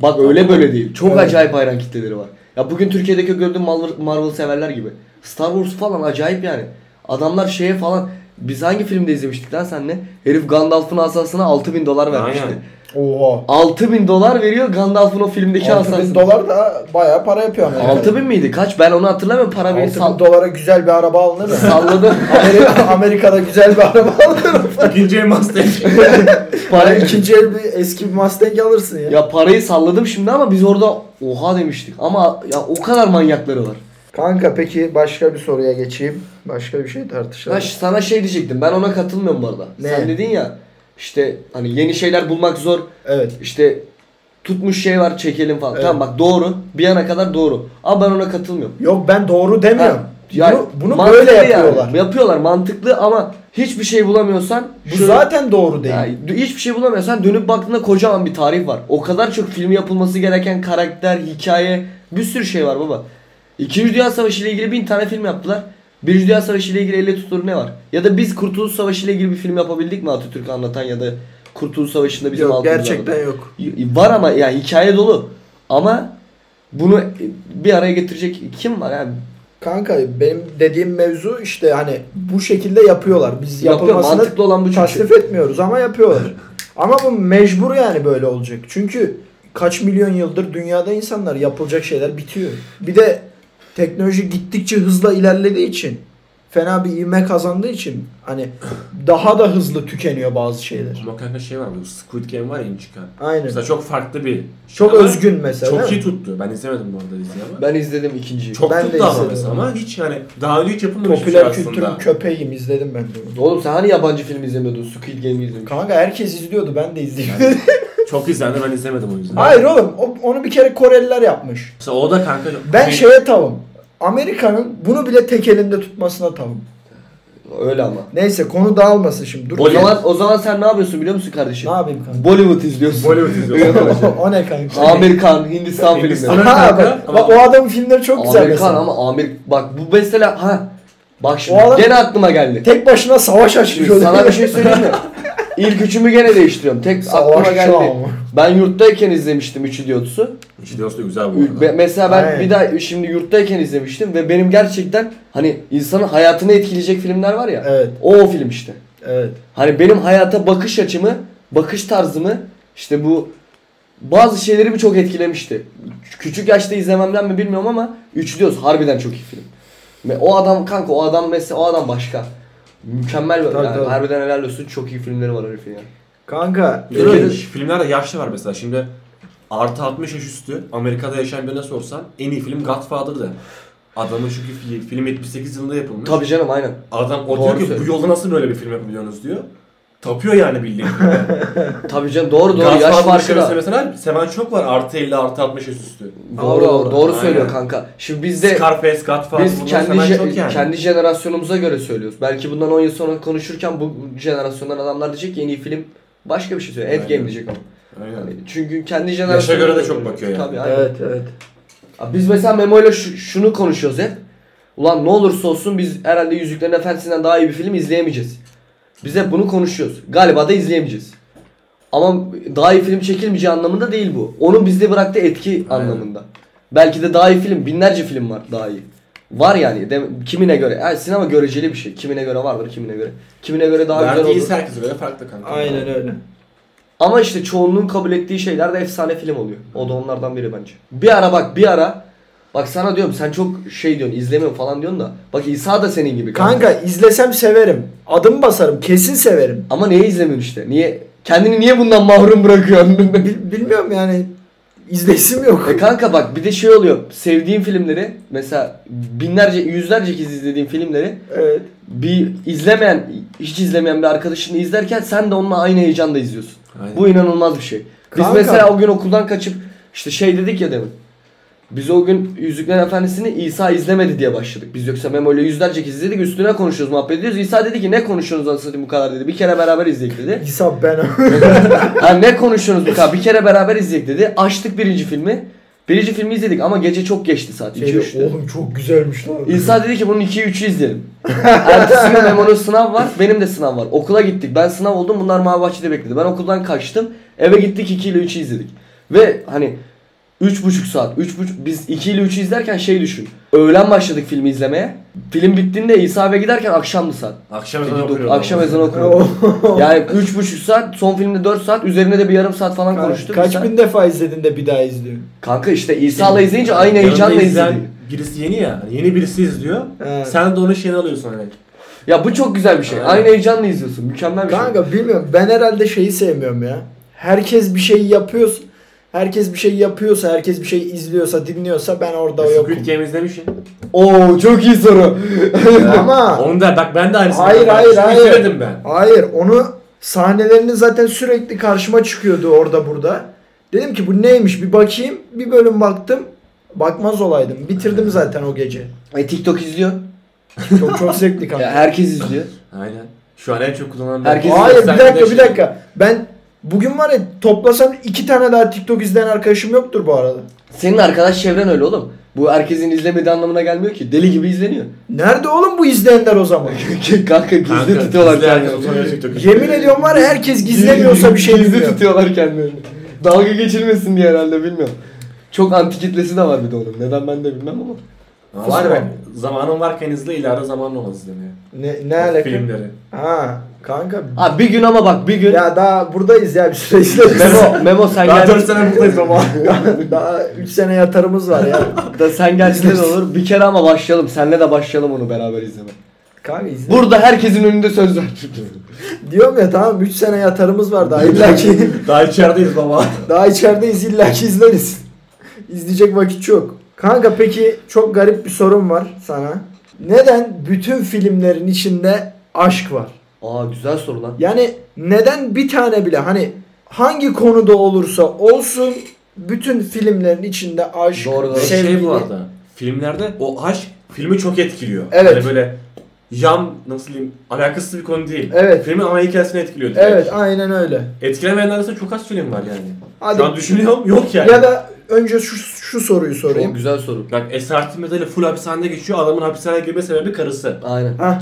S3: Bak öyle böyle değil. Çok
S1: Evet.
S3: acayip hayran kitleleri var. Ya bugün Türkiye'deki gördüğüm Marvel, Marvel severler gibi. Star Wars falan acayip yani. Adamlar şeye falan biz hangi filmde izlemiştik lan senle? Herif Gandalf'ın asasına 6000 dolar vermişti.
S2: Aynen.
S1: Oha.
S3: 6000 dolar veriyor Gandalf'ın o filmdeki
S1: 6000
S3: asasına.
S1: dolar da bayağı para yapıyor ama.
S3: 6000 miydi? Kaç? Ben onu hatırlamıyorum. Para bir
S1: 6000
S3: sal-
S1: dolara güzel bir araba alınır mı?
S3: salladım.
S1: Amerika, Amerika'da güzel bir araba alınır mı?
S2: İkinci el Mustang.
S1: Para
S3: Para
S1: ikinci el bir eski bir Mustang alırsın ya.
S3: Ya parayı salladım şimdi ama biz orada oha demiştik. Ama ya o kadar manyakları var.
S1: Kanka peki başka bir soruya geçeyim. Başka bir şey tartışalım.
S3: Ha, ş- sana şey diyecektim. Ben ona katılmıyorum bu arada.
S1: Ne?
S3: Sen dedin ya işte hani yeni şeyler bulmak zor.
S1: Evet.
S3: İşte tutmuş şey var çekelim falan.
S1: Evet.
S3: Tamam bak doğru. Bir yana kadar doğru. Ama ben ona katılmıyorum.
S1: Yok ben doğru demiyorum.
S3: Ha, yani
S1: bunu bunu
S3: mantıklı
S1: böyle
S3: yani.
S1: yapıyorlar.
S3: Yapıyorlar mantıklı ama hiçbir şey bulamıyorsan
S1: Bu
S3: şöyle-
S1: zaten doğru değil.
S3: Ya, d- hiçbir şey bulamıyorsan dönüp baktığında kocaman bir tarih var. O kadar çok film yapılması gereken karakter, hikaye, bir sürü şey var baba. İkinci Dünya Savaşı ile ilgili bin tane film yaptılar. Birinci Dünya Savaşı ile ilgili elle tutulur ne var? Ya da biz Kurtuluş Savaşı ile ilgili bir film yapabildik mi Atatürk'ü anlatan ya da Kurtuluş Savaşı'nda bizim
S1: yok
S3: altımızda
S1: gerçekten
S3: olan?
S1: yok.
S3: Y- Var ama yani hikaye dolu. Ama bunu e, bir araya getirecek kim var yani?
S1: Kanka benim dediğim mevzu işte hani bu şekilde yapıyorlar. Biz
S3: Yapıyor
S1: yapılmasını
S3: mantıklı olan bu çünkü.
S1: tasnif etmiyoruz ama yapıyorlar. ama bu mecbur yani böyle olacak. Çünkü kaç milyon yıldır dünyada insanlar yapılacak şeyler bitiyor. Bir de teknoloji gittikçe hızla ilerlediği için fena bir ivme kazandığı için hani daha da hızlı tükeniyor bazı şeyler.
S2: Ama kanka şey var bu Squid Game var ya yeni çıkan.
S1: Aynen.
S2: Mesela çok farklı bir.
S1: Çok
S2: Ama
S1: özgün mesela. değil
S2: Çok
S1: mi?
S2: iyi tuttu. Ben izlemedim bu arada diziyi ama.
S3: Ben izledim ikinciyi.
S2: Çok
S1: Ben de
S2: tuttu ama
S1: izledim
S2: mesela
S1: onu.
S2: ama hiç yani daha önce hiç yapılmamış bir şey
S1: Popüler kültürün
S2: aslında.
S1: köpeğim izledim ben de. onu.
S3: Oğlum sen hani yabancı film izlemiyordun? Squid Game izlemiştin.
S1: Kanka herkes izliyordu ben de izledim.
S2: Çok izlendi ben izlemedim o yüzden.
S1: Hayır oğlum o- onu bir kere Koreliler yapmış.
S2: Mesela o da kanka.
S1: Ben
S3: şey-
S1: şeye tavım. Amerika'nın bunu bile tek elinde tutmasına tavım.
S3: Öyle ama.
S1: Neyse konu dağılmasın şimdi. Dur.
S3: O zaman o zaman sen ne yapıyorsun biliyor musun
S1: ne
S3: kardeşim?
S1: yapayım kanka?
S3: Bollywood izliyorsun.
S2: Bollywood izliyorum.
S1: o ne kanka?
S3: Amerikan, Hindistan
S2: Hindistan.
S3: filmleri.
S1: Ha, bak,
S2: Ama-
S1: bak, o adamın filmleri çok güzel
S3: Amerikan
S1: mesela.
S3: ama Amerik bak bu mesela ha bak şimdi
S1: O adam-
S3: gene aklıma geldi.
S1: Tek başına savaş açıyor.
S3: Sana bir şey söyleyeyim mi? İlk üçümü gene değiştiriyorum. Tek
S1: Savaş
S3: aklıma
S1: şu
S3: geldi.
S1: an.
S3: Ben yurttayken izlemiştim Üç İdiotsu.
S2: İşte dostu güzel bu
S3: Ü-
S2: arada.
S3: be- Mesela ben
S1: Aynen.
S3: bir daha şimdi yurttayken izlemiştim ve benim gerçekten hani insanın hayatını etkileyecek filmler var ya.
S1: Evet,
S3: O, o film işte.
S1: evet.
S3: Hani benim hayata bakış açımı, bakış tarzımı işte bu bazı şeyleri bir çok etkilemişti. Küçük yaşta izlememden mi bilmiyorum ama Üçlüyoruz harbiden çok iyi film. Ve o adam kanka o adam mesela o adam başka. Mükemmel bir
S1: Tabii,
S3: yani
S1: tabii.
S3: harbiden helal olsun çok iyi filmleri var herifin yani.
S1: Kanka,
S2: Bir de
S1: ülkede-
S2: Filmlerde yaşlı var mesela. Şimdi artı 60 yaş üstü Amerika'da yaşayan birine sorsan en iyi film Godfather'dı. Adamın çünkü fi- film 78 yılında yapılmış.
S3: Tabii canım aynen.
S2: Adam o
S3: Doğru
S2: diyor ki bu
S3: söylüyorsun.
S2: yolda nasıl böyle bir film yapabiliyorsunuz diyor. Tapıyor yani bildiğin.
S3: Tabii canım doğru doğru yaş
S2: Godfather'ın
S3: farkı
S2: şöyle
S3: da.
S2: mesela Seven çok var artı 50 artı 60 yaş üstü.
S3: Doğru
S1: Allah Allah.
S3: doğru söylüyor
S2: Aynen.
S3: kanka. Şimdi biz de
S2: Scarface, Godfather
S3: biz
S2: bunları
S3: kendi
S2: Seven
S3: je-
S2: çok yani.
S3: kendi jenerasyonumuza göre söylüyoruz. Belki bundan 10 yıl sonra konuşurken bu jenerasyondan adamlar diyecek ki en iyi film başka bir şey söylüyor.
S2: Aynen.
S3: Endgame diyecek ama.
S2: Aynen.
S3: Çünkü kendi jenerasyonuna
S2: Yaşa göre de çok bakıyor yani.
S3: Tabii, aynen.
S1: Evet, evet.
S3: Abi Biz mesela Memo'yla şu- şunu konuşuyoruz hep. Ulan ne olursa olsun biz herhalde Yüzüklerin Efendisi'nden daha iyi bir film izleyemeyeceğiz. Biz hep bunu konuşuyoruz. Galiba da izleyemeyeceğiz. Ama daha iyi film çekilmeyeceği anlamında değil bu. Onun bizde bıraktığı etki
S2: Aynen.
S3: anlamında. Belki de daha iyi film, binlerce film var daha iyi. Var yani. Dem- kimine göre. Yani sinema göreceli bir şey. Kimine göre vardır, kimine göre. Kimine göre daha
S2: Verdiği
S3: güzel olur.
S2: iyisi herkese göre farklı kanka.
S1: Aynen öyle.
S3: Ama işte çoğunluğun kabul ettiği şeyler de efsane film oluyor. O da onlardan biri bence. Bir ara bak bir ara. Bak sana diyorum sen çok şey diyorsun izlemiyorum falan diyorsun da. Bak İsa da senin gibi kanka.
S1: Kanka izlesem severim. Adım basarım, kesin severim.
S3: Ama niye izlemiyorsun işte? Niye? Kendini niye bundan mahrum bırakıyorsun?
S1: Bil- bilmiyorum yani İzleyisim yok.
S3: E kanka bak bir de şey oluyor. Sevdiğim filmleri mesela binlerce yüzlerce kez izlediğim filmleri
S1: Evet.
S3: bir izlemeyen hiç izlemeyen bir arkadaşını izlerken sen de onunla aynı heyecanla izliyorsun.
S2: Aynen.
S3: Bu inanılmaz bir şey. Biz
S1: Kanka.
S3: mesela o gün okuldan kaçıp işte şey dedik ya demin. Biz o gün Yüzükler Efendisi'ni İsa izlemedi diye başladık. Biz yoksa Memo ile yüzlerce kez izledik üstüne konuşuyoruz muhabbet ediyoruz. İsa dedi ki ne konuşuyorsunuz anasını satayım bu kadar dedi. Bir kere beraber izledik dedi.
S1: İsa ben.
S3: Ha ne konuşuyorsunuz bu kadar? Bir kere beraber izledik dedi. Açtık birinci filmi. Birinci filmi izledik ama gece çok geçti saat. 2
S1: Şeyde,
S3: 3'te.
S1: Şey, oğlum çok güzelmiş lan.
S3: İsa dedi ki bunun 2'yi 3'ü izleyelim. Ertesi gün Memo'nun sınav var. Benim de sınav var. Okula gittik. Ben sınav oldum. Bunlar mavi bahçede bekledi. Ben okuldan kaçtım. Eve gittik 2 ile 3'ü izledik. Ve hani üç buçuk saat. üç buçuk, biz 2 ile 3'ü izlerken şey düşün. Öğlen başladık filmi izlemeye. Film bittiğinde İsa eve giderken akşamdı saat.
S2: Akşam ezanı okuyorum.
S3: Akşam
S2: ama.
S3: ezanı okuyordu. Yani üç buçuk saat, son filmde 4 saat, üzerine de bir yarım saat falan konuştuk.
S1: Kaç
S3: İsa-
S1: bin defa izledin de bir daha izliyorsun.
S3: Kanka işte İsa'la izleyince aynı heyecanla
S2: Yanında izleyen
S3: izledik.
S2: Birisi yeni ya. hani Yeni birisi izliyor.
S1: Evet.
S2: Sen de onun şeyini alıyorsun hani.
S3: Ya bu çok güzel bir şey.
S2: Aynen.
S3: Aynı heyecanla izliyorsun. Mükemmel bir şey.
S1: Kanka bilmiyorum ben herhalde şeyi sevmiyorum ya. Herkes bir şey yapıyor. Herkes bir şey yapıyorsa, herkes bir şey izliyorsa, dinliyorsa ben orada yokum.
S2: Squid Game izlemişsin.
S3: Oo çok iyi soru.
S1: Ama
S2: Onu da bak ben de aynısını.
S1: Hayır,
S2: yaptım.
S1: hayır,
S2: Şunu
S1: hayır.
S2: izlemedim ben.
S1: hayır onu sahnelerinin zaten sürekli karşıma çıkıyordu orada burada. Dedim ki bu neymiş bir bakayım. Bir bölüm baktım. Bakmaz olaydım. Bitirdim zaten o gece.
S3: e, TikTok izliyor.
S1: Çok çok zevkli
S3: Ya
S1: kanka.
S3: herkes izliyor.
S2: Aynen. Şu an en çok kullanılan
S3: Herkes-
S1: Hayır bir dakika bir
S2: Şey-
S1: dakika. Ben bugün var ya toplasam iki tane daha TikTok izleyen arkadaşım yoktur bu arada.
S3: Senin arkadaş çevren öyle oğlum. Bu herkesin izlemediği anlamına gelmiyor ki. Deli gibi izleniyor.
S1: Nerede oğlum bu izleyenler o zaman?
S3: Kanka gizli
S2: şey- Kanka,
S3: tutuyorlar
S2: izleyen
S3: kendini.
S2: herkes utanıyor TikTok'u.
S1: Yemin ediyorum var ya herkes gizlemiyorsa bir şey
S3: Gizli
S1: bilmiyor.
S3: tutuyorlar kendilerini. Dalga geçilmesin diye herhalde bilmiyorum. Çok anti kitlesi de var bir de onun. Neden ben de bilmem ama.
S2: Ama Var
S1: Kusura
S2: bak. Zamanın varken izle ileride zamanın olmaz izlemeye.
S1: Ne, ne alaka?
S2: Filmleri.
S1: Ha kanka.
S3: Abi bir gün ama bak bir gün.
S1: Ya daha buradayız ya bir süre izleriz.
S3: Memo, Memo sen
S2: Daha
S3: gel.
S2: 4 sene buradayız ama.
S1: daha 3 sene yatarımız var ya.
S3: Da sen gerçekten olur. Bir kere ama başlayalım. Senle de başlayalım onu beraber izleme.
S1: Kanka izle.
S3: Burada herkesin önünde söz ver.
S1: Diyorum ya tamam 3 sene yatarımız var daha illa ki
S2: Daha içerideyiz baba.
S1: daha içerideyiz illa ki izleriz. İzleyecek vakit çok. Kanka peki çok garip bir sorum var sana. Neden bütün filmlerin içinde aşk var?
S3: Aa güzel soru lan.
S1: Yani neden bir tane bile hani hangi konuda olursa olsun bütün filmlerin içinde aşk,
S3: Doğru, doğru.
S2: Şey,
S1: sevgi-
S2: bu arada. Filmlerde o aşk filmi çok etkiliyor.
S1: Evet.
S2: Hani böyle yan nasıl diyeyim alakasız bir konu değil.
S1: Evet.
S2: Filmin ana hikayesini etkiliyor direkt.
S1: Evet aynen öyle.
S2: Etkilemeyenler arasında çok az film var yani.
S1: Hadi.
S2: Şu an düşünüyorum yok yani.
S1: Ya da önce şu, şu soruyu
S3: Çok
S1: sorayım.
S3: güzel soru.
S2: Bak Esaretin Medali full hapishanede geçiyor. Adamın hapishaneye girme sebebi karısı.
S3: Aynen.
S1: Hah.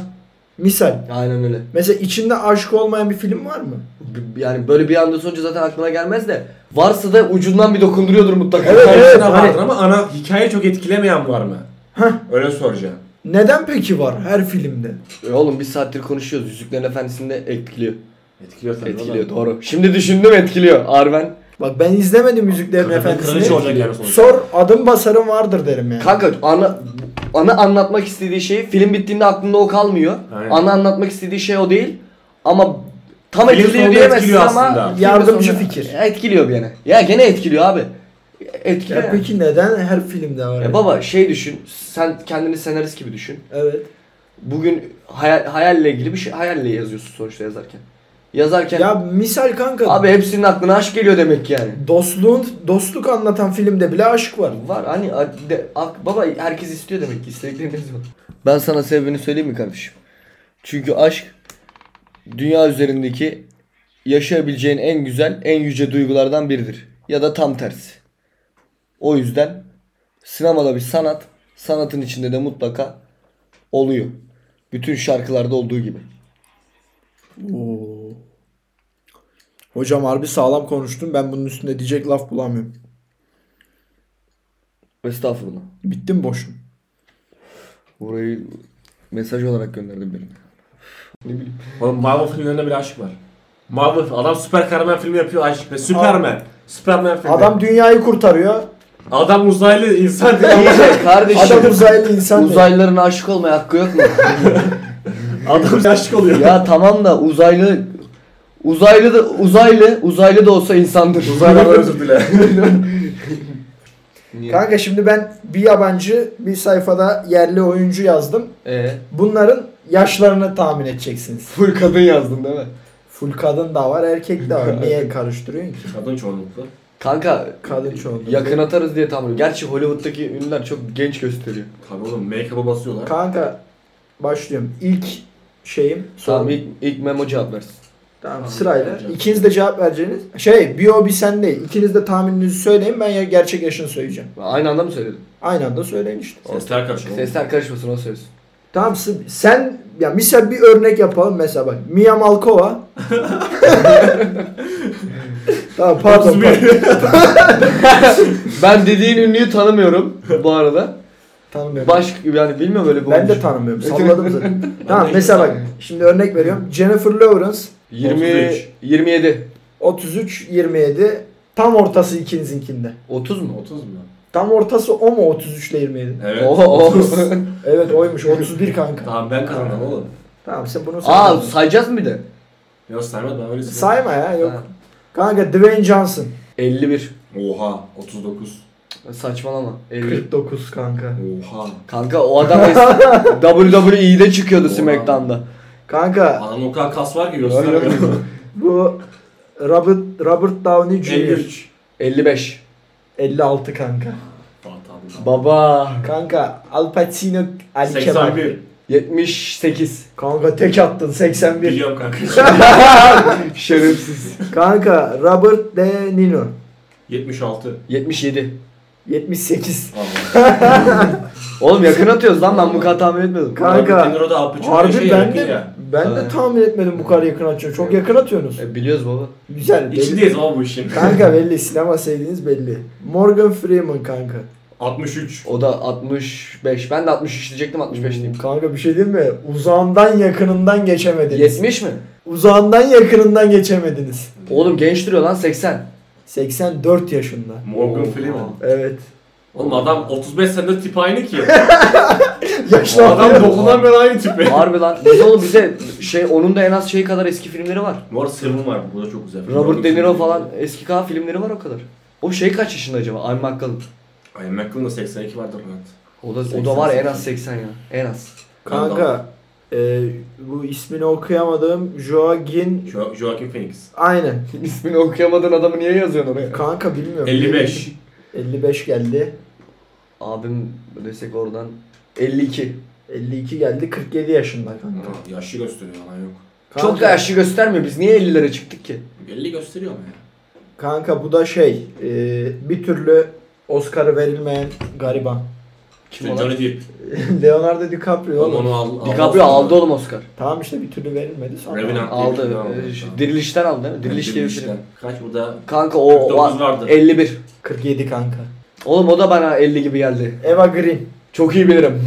S1: Misal.
S3: Aynen öyle.
S1: Mesela içinde aşk olmayan bir film var mı?
S3: B- Yani böyle bir anda sonucu zaten aklına gelmez de varsa da ucundan bir dokunduruyordur mutlaka.
S1: Evet,
S2: Karısına
S1: evet,
S2: vardır
S1: hani-
S2: ama ana hikaye çok etkilemeyen var mı?
S1: Heh.
S2: Öyle soracağım.
S1: Neden peki var her filmde?
S3: E oğlum bir saattir konuşuyoruz. Yüzüklerin Efendisi'nde etkiliyor.
S2: Etkiliyor tabii.
S3: Etkiliyor doğru. Şimdi düşündüm etkiliyor. Arven.
S1: Bak ben izlemedim Yüzüklerin
S2: Kadın- Kraliçe
S1: Efendisi'ni.
S2: olacak yani sonuçta.
S1: Sor adım basarım vardır derim yani.
S3: Kanka ana ana anlatmak istediği şeyi film bittiğinde aklında o kalmıyor.
S2: Aynen.
S3: Ana anlatmak istediği şey o değil. Ama tam
S2: Film
S3: etkiliyor
S2: sonunda
S3: diyemezsin
S2: etkiliyor
S3: ama
S2: aslında.
S3: filmin
S1: Yardımcı
S3: sonunda-
S1: fikir.
S3: Etkiliyor gene. Ya gene etkiliyor abi. Etkiliyor.
S1: ya
S3: yani.
S1: peki neden her filmde var?
S3: Ya baba şey düşün. Sen kendini senarist gibi düşün.
S1: Evet.
S3: Bugün hayal, hayalle ilgili bir şey hayalle yazıyorsun sonuçta yazarken. Yazarken
S1: Ya misal kanka.
S3: abi hepsinin aklına aşk geliyor demek ki yani.
S1: Dostluğun dostluk anlatan filmde bile aşk var.
S3: Var hani a- de- ak- baba herkes istiyor demek ki istediklerini yazıyor. Ben sana sebebini söyleyeyim mi kardeşim? Çünkü aşk dünya üzerindeki yaşayabileceğin en güzel, en yüce duygulardan biridir. Ya da tam tersi. O yüzden sinemada bir sanat, sanatın içinde de mutlaka oluyor. Bütün şarkılarda olduğu gibi.
S1: Hocam harbi sağlam konuştun. Ben bunun üstüne diyecek laf bulamıyorum.
S3: Estağfurullah.
S1: Bittim boşum.
S3: Burayı mesaj olarak gönderdim benim.
S2: Oğlum Marvel filmlerinde bile aşk var. Marvel adam süper kahraman filmi yapıyor aşk ve Superman. Superman filmi.
S1: Adam dünyayı kurtarıyor.
S2: adam uzaylı insan değil.
S3: İyice kardeşim.
S1: Adam uzaylı insan. değil.
S3: Uzaylıların aşık olmaya hakkı yok mu?
S2: adam aşık oluyor.
S3: ya tamam da uzaylı uzaylı da uzaylı uzaylı da olsa insandır.
S2: Uzaylılar özür dile.
S3: Niye?
S1: Kanka şimdi ben bir yabancı bir sayfada yerli oyuncu yazdım.
S3: Ee?
S1: Bunların yaşlarını tahmin edeceksiniz.
S3: Full kadın yazdım değil mi?
S1: Full kadın da var erkek de var. Niye karıştırıyorsun ki?
S2: Kadın çoğunlukla.
S3: Kanka
S1: Kadın çoğunlukla.
S3: yakın atarız diye tahmin ediyorum. Gerçi Hollywood'daki ünlüler çok genç gösteriyor.
S2: Tabii oğlum make-up'a basıyorlar.
S1: Kanka başlıyorum. İlk şeyim.
S3: Tamam
S1: Sorum.
S3: ilk, ilk memo cevap versin.
S1: Tamam
S2: Tamam,
S1: sırayla.
S2: vereceğim.
S1: İkiniz de cevap vereceğiniz. Şey bir o bir sen değil. İkiniz de tahmininizi söyleyin. Ben ya- gerçek yaşını söyleyeceğim.
S3: Aynı anda mı söyledin?
S1: Aynı anda söyleyin işte.
S2: Sesler karışıyor. oğlum.
S3: Sesler karışmasın o söz.
S1: Tamam sı- sen ya misal bir örnek yapalım mesela bak. Mia Malkova. tamam pardon. pardon.
S3: Ben dediğin ünlüyü tanımıyorum bu arada.
S1: Tanımıyorum.
S3: Baş yani bilmiyorum öyle bir
S1: Ben de
S3: oyuncu.
S1: tanımıyorum. Salladım zaten. tamam
S2: Ben de
S1: mesela bak.
S2: hiç
S1: Şimdi örnek veriyorum. Jennifer Lawrence
S3: 20
S2: 33.
S3: 27.
S1: 33 27 tam ortası ikinizinkinde.
S3: 30 mu?
S2: 30 mu?
S1: Tam ortası o mu 33 ile 27?
S2: Evet.
S3: Oho, oho.
S2: 30.
S1: Evet oymuş 31 kanka.
S2: tamam ben kazandım oğlum.
S1: Tamam sen bunu
S3: Aa
S1: sayma.
S3: sayacağız mı bir de?
S2: Yok saymadım ben öyle saymadım.
S1: Sayma ya yok.
S3: Ha.
S1: Kanka Dwayne Johnson
S3: 51.
S2: Oha 39.
S3: Saçmalama. 51.
S1: 49 kanka.
S2: Oha.
S3: Kanka o adam WWE'de çıkıyordu
S2: Oha.
S3: SmackDown'da.
S1: Kanka
S2: Adam o kadar kas var ki
S1: Öyle mi?
S2: göstermiyor.
S1: bu Robert Robert Downey Jr.
S2: 53.
S3: 55.
S1: 56 kanka.
S2: Tamam tamam. tamam.
S3: Baba.
S1: Kanka Al Pacino Ali Kemal.
S2: 81.
S3: 78.
S1: Kanka tek attın 81.
S2: Biliyorum kanka.
S3: Şerefsiz.
S1: Kanka Robert De Niro
S2: 76.
S3: 77.
S1: 78.
S2: Allah.
S3: Oğlum yakın atıyoruz lan ben bu kadar tahmin etmedim.
S1: Kanka,
S2: Robert De Niro da Al Pacino'ya
S1: Harbi
S2: şey
S1: ben
S2: yakın
S1: de
S2: ya.
S1: ben de
S3: Aynen.
S1: tahmin etmedim bu kadar yakın atıyorsun. Çok yakın atıyorsunuz.
S3: E, biliyoruz baba.
S1: Güzel. belli.
S2: İçindeyiz ama bu işin.
S1: Kanka belli sinema sevdiğiniz belli. Morgan Freeman kanka.
S2: 63.
S3: O da 65. Ben de 63 diyecektim 65 diyeyim.
S1: Kanka bir şey diyeyim mi? Uzağından yakınından geçemediniz.
S3: 70 mi?
S1: Uzağından yakınından geçemediniz.
S3: Oğlum genç duruyor lan 80.
S1: 84 yaşında.
S2: Morgan
S3: Oo.
S2: Freeman.
S1: Evet.
S2: Oğlum adam 35 senedir tip aynı ki.
S1: Yaşlı
S2: adam
S1: adam
S2: dokunan beri aynı tip.
S3: Harbi lan. Biz oğlum bize şey onun da en az şey kadar eski filmleri var.
S2: Bu arada Seven var. Bu da çok güzel.
S3: Robert De Niro falan eski kaha filmleri var o kadar. O şey kaç yaşında acaba? I'm McCallum.
S2: Ay McClellan da 82 vardır rahat.
S3: O da o
S2: 80,
S3: da var ya en az 80 ya. En az.
S1: Kanka e, bu ismini okuyamadığım Joaquin
S2: Jo- Joaquin Phoenix.
S1: aynen.
S3: İsmini okuyamadığın adamı niye yazıyorsun oraya?
S1: Kanka bilmiyorum.
S2: 55.
S1: 55 geldi.
S3: Abim desek oradan 52.
S1: 52 geldi. 47 yaşında kanka.
S2: Ama Yaşlı gösteriyor lan yok.
S1: Kanka-
S3: Çok da yaşlı göstermiyor. Biz niye 50'lere çıktık ki?
S2: 50 gösteriyor ama ya.
S1: Kanka bu da şey e, bir türlü Oscar'ı verilmeyen gariban.
S3: Kim
S2: İşte
S3: olan?
S2: Johnny Depp.
S1: Leonardo DiCaprio
S2: Oğlum
S1: oğlum.
S2: onu al.
S3: DiCaprio aldı oğlum Oscar.
S1: Tamam işte bir türlü verilmedi sonra.
S2: Revenant.
S3: Aldı.
S2: Tamam,
S3: Ee, şu-
S2: tamam.
S3: Dirilişten aldı değil mi?
S2: Yani
S3: Diriliş diye bir şey.
S2: Diriliş
S3: film.
S2: de. Kaç bu da?
S3: Kanka o, o
S2: 49 vardı.
S3: 51.
S1: 47 kanka.
S3: Oğlum o da bana 50 gibi geldi.
S1: Eva Green.
S3: Çok iyi bilirim.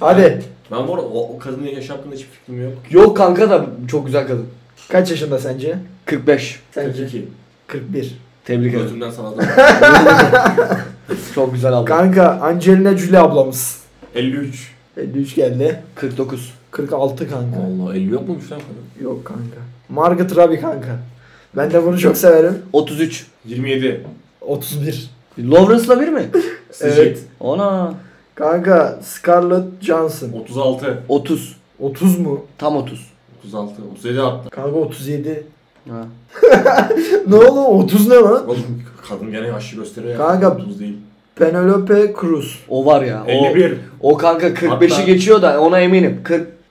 S1: Hadi
S2: Ben bu arada o, o kadının yaş hakkında hiçbir fikrim yok.
S3: Yok kanka da çok güzel kadın.
S1: kaç yaşında sence?
S3: 45.
S1: Sence?
S2: 42.
S1: 41.
S3: Tebrik ederim.
S2: Gözümden sana da.
S3: Çok güzel abla.
S1: Kanka Angelina Jolie ablamız.
S2: 53.
S1: 53 geldi.
S3: 49.
S1: 46 kanka.
S2: Allah 50 yok muymuş lan kadın?
S1: Yok kanka. Margot Robbie kanka. Ben de bunu çok severim.
S3: 33.
S2: 27.
S1: 31.
S3: Lawrence'la bir mi?
S1: Evet.
S2: Sıcak.
S3: Ona.
S1: Kanka Scarlett Johansson.
S2: 36.
S3: 30.
S1: 30 mu?
S3: Tam 30.
S2: 36. 37 hatta.
S1: Kanka 37.
S3: Ha.
S1: ne oğlum 30 ne lan?
S2: Oğlum kadın gene yaşlı gösteriyor.
S1: Kanka-
S2: 30 değil.
S1: Penelope Cruz.
S3: O var ya. O,
S2: 51.
S3: o kanka 45'i
S2: Hatta-
S3: geçiyor da ona eminim.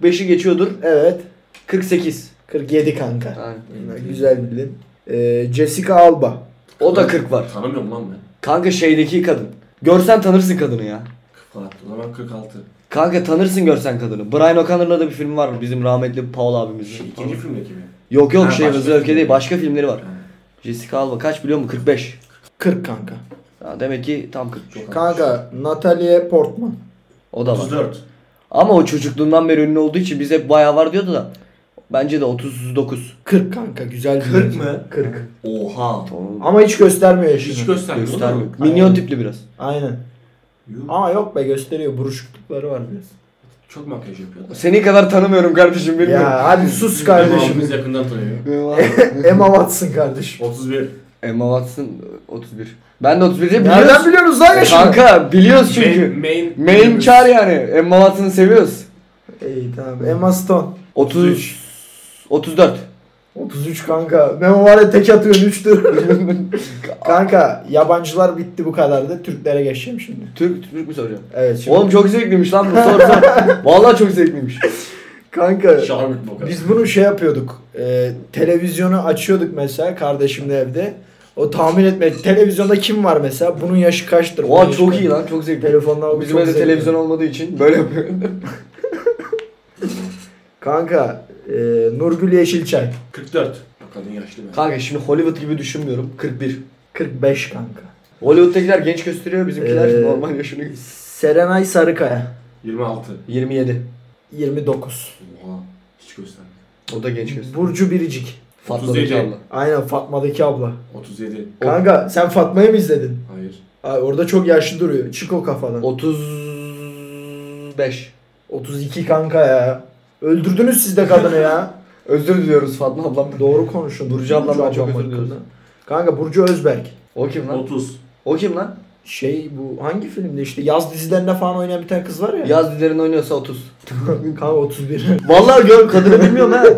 S3: 45'i geçiyordur.
S1: Evet.
S3: 48.
S1: 47 kanka.
S3: Aynen.
S1: Güzel bildin. Ee, Jessica Alba.
S3: O da 40 var.
S2: Tanımıyorum lan ben.
S3: Kanka şeydeki kadın. Görsen tanırsın kadını ya.
S2: 46. O zaman 46.
S3: Kanka tanırsın görsen kadını. Brian O'Connor'la da bir film var bizim rahmetli Paul abimizin.
S2: Şey, ikinci filmdeki mi?
S3: Yok
S2: Ha,
S3: yok şey
S2: başka
S3: Hızlı Öfke
S2: film.
S3: değil başka filmleri var.
S2: Ha.
S3: Jessica Alba kaç biliyor musun? 45.
S1: 40 kanka.
S3: Ha, demek ki tam 40.
S2: Çok
S1: Kanka Natalie Portman.
S3: O da var.
S2: 34.
S3: Ama o çocukluğundan beri ünlü olduğu için biz hep bayağı var diyordu da. Bence de 39.
S1: 40 kanka güzel bir
S2: 40
S1: yaş.
S2: mı?
S1: 40.
S2: Oha.
S3: Tamam.
S1: Ama hiç göstermiyor yaşını.
S2: Hiç göstermiyor.
S3: Göstermiyor.
S2: oğlum.
S3: Minyon tipli biraz.
S1: Aynen.
S2: Yuh.
S1: Ama yok be gösteriyor buruşuklukları var biraz.
S2: Çok makyaj yapıyor. da.
S3: Seni kadar tanımıyorum kardeşim bilmiyorum.
S1: Ya hadi sus
S2: Babamız
S1: kardeşim.
S2: yakından tanıyor.
S3: Benim abi.
S1: Emma Watson kardeşim.
S2: 31.
S3: Emma Watson 31. Ben de 31 diye biliyoruz. E
S1: Nereden biliyorsunuz lan yaşını?
S3: Kanka biliyoruz çünkü.
S2: main,
S3: Main kar yani. Emma Watson'ı seviyoruz.
S1: İyi tamam. Emma Stone.
S3: 30 34.
S1: 33 kanka. Ben o arada tek atıyorum 3'tür. kanka yabancılar bitti bu kadardı. Türklere geçeceğim şimdi.
S3: Türk Türk mü soracağım?
S1: Evet şimdi.
S3: Oğlum çok zevkliymiş lan bu soru. sor. Vallahi çok zevkliymiş.
S1: Kanka
S2: Şarmık bu kadar.
S1: biz bunu şey yapıyorduk. E, televizyonu açıyorduk mesela kardeşimle evde. O tahmin etme. Televizyonda kim var mesela? Bunun yaşı kaçtır? Bunun
S3: Oha
S1: yaşı
S3: çok
S1: kaç-
S3: iyi lan çok zevkli.
S1: Telefonlar
S3: Bizim
S1: çok
S3: evde
S1: zevkli.
S3: televizyon olmadığı için böyle yapıyorum.
S1: Kanka e, Nurgül Yeşilçay.
S2: 44. Bak kadın yaşlı be.
S3: Kanka şimdi Hollywood gibi düşünmüyorum. 41.
S1: 45 kanka.
S3: Hollywood'dakiler genç gösteriyor bizimkiler
S1: Ee,
S3: normal yaşını.
S1: Serenay Sarıkaya.
S2: 26.
S3: 27.
S1: 29.
S2: Oha. Hiç göstermiyor.
S3: O da genç gösteriyor.
S1: Burcu Biricik.
S3: Fatma'daki
S2: 37.
S3: abla.
S1: Aynen Fatma'daki abla.
S2: 37.
S1: Kanka sen Fatma'yı mı izledin?
S2: Hayır.
S1: Ay, orada çok yaşlı duruyor. Çık o kafadan.
S3: 35.
S1: 32 kanka ya. Öldürdünüz siz de kadını ya.
S3: Özür diliyoruz Fatma ablam.
S1: Doğru konuşun.
S3: Burcu ablam ben çok
S1: ablam
S3: özür diliyoruz.
S1: hakkında. Kanka Burcu Özberk.
S3: O kim lan?
S2: 30.
S3: O kim lan?
S1: Şey bu hangi filmde işte yaz dizilerinde falan oynayan bir tane kız var ya.
S3: Yaz dizilerinde oynuyorsa 30.
S1: kanka 31.
S3: Vallahi gör kadını bilmiyorum ha.
S2: Güzel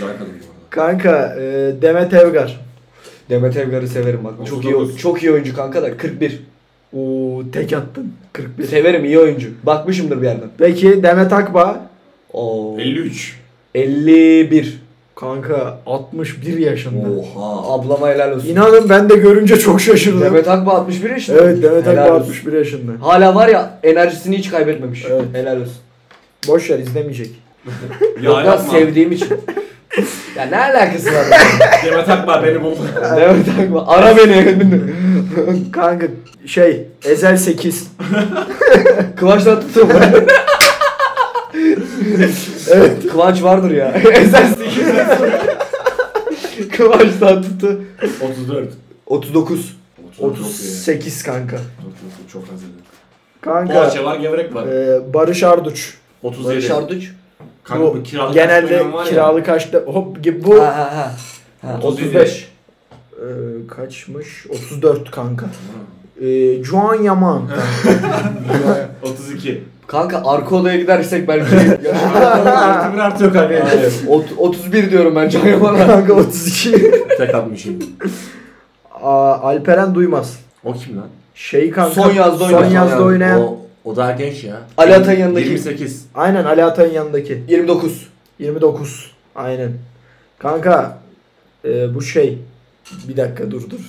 S2: kadın bu arada.
S1: kanka e, Demet Evgar.
S3: Demet Evgar'ı severim bak. Çok iyi
S2: 39.
S3: çok iyi oyuncu kanka da 41.
S1: Oo tek attın. 41.
S3: Severim iyi oyuncu. Bakmışımdır bir yerden.
S1: Peki Demet Akbağ.
S3: Oo.
S2: 53.
S3: 51.
S1: Kanka 61 yaşında.
S2: Oha.
S3: Ablama helal olsun.
S1: İnanın ben de görünce çok şaşırdım.
S3: Demet Akba 61 yaşında.
S1: evet Demet
S3: Helal
S1: Akbağ
S3: olsun.
S1: 61 yaşında.
S3: Hala var ya enerjisini hiç kaybetmemiş.
S1: Evet.
S3: Helal olsun.
S1: Boş ver izlemeyecek.
S2: Ya
S3: Yok lan
S2: yapma.
S3: sevdiğim için. ya ne alakası var?
S2: Demet Akbağ beni buldu.
S3: Demet Akba ara beni.
S1: Kanka şey Ezel 8.
S3: Kıvanç'tan tutuyorum ben. evet. Kıvanç vardır ya. Ezel sikir. Kıvanç'tan tuttu.
S2: 34.
S3: 39.
S1: 38 kanka.
S2: Çok, çok, çok, çok az edin.
S1: Kanka
S2: Poğaça var, gevrek var.
S1: e, Barış Arduç.
S2: 37.
S3: Barış Arduç.
S2: Kanka bu kiralık restoran
S1: genelde
S2: var ya.
S1: kiralık açta hop gibi bu
S3: Ha ha ha. ha.
S2: 37.
S1: 35. E, kaçmış? 34 kanka. E, Juan Yaman.
S2: Ha. 32.
S3: Kanka arka odaya gidersek belki.
S2: Artı bir artıyor kanka.
S3: Ot- 31 diyorum ben Can Yaman'a.
S1: kanka 32.
S2: Tek atmışım.
S1: Aa, Alperen Duymaz.
S2: O kim lan?
S1: Şey kanka.
S3: Son yazda oynayan.
S1: Son yazda
S3: Son
S1: oynayan.
S2: O, o daha genç ya.
S3: Ali Atay'ın yanındaki-
S2: 28.
S1: Aynen Ali Atay'ın yanındaki.
S3: 29.
S1: 29. Aynen. Kanka e, bu şey bir dakika dur dur.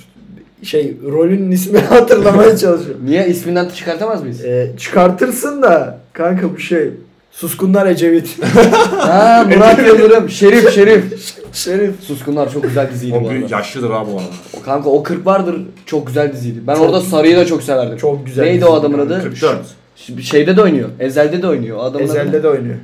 S1: Şey rolünün ismini hatırlamaya çalışıyorum.
S3: Niye isminden çıkartamaz mıyız?
S1: E, çıkartırsın da kanka bu şey Suskunlar Ecevit.
S3: ha Murat Yıldırım. Şerif Şerif.
S1: Şerif.
S3: Suskunlar çok güzel diziydi bu
S2: O büyük
S3: arada.
S2: yaşlıdır abi o adam.
S3: O Kanka o 40 vardır çok güzel diziydi. Ben
S1: Çok-
S3: orada Sarı'yı da çok severdim.
S1: Çok güzel.
S3: Neydi
S1: dizi.
S3: o adamın adı?
S2: 44.
S3: Şimdi Şeyde de oynuyor. Ezel'de de oynuyor. O Adamın
S1: Ezel'de
S3: adı.
S1: de oynuyor.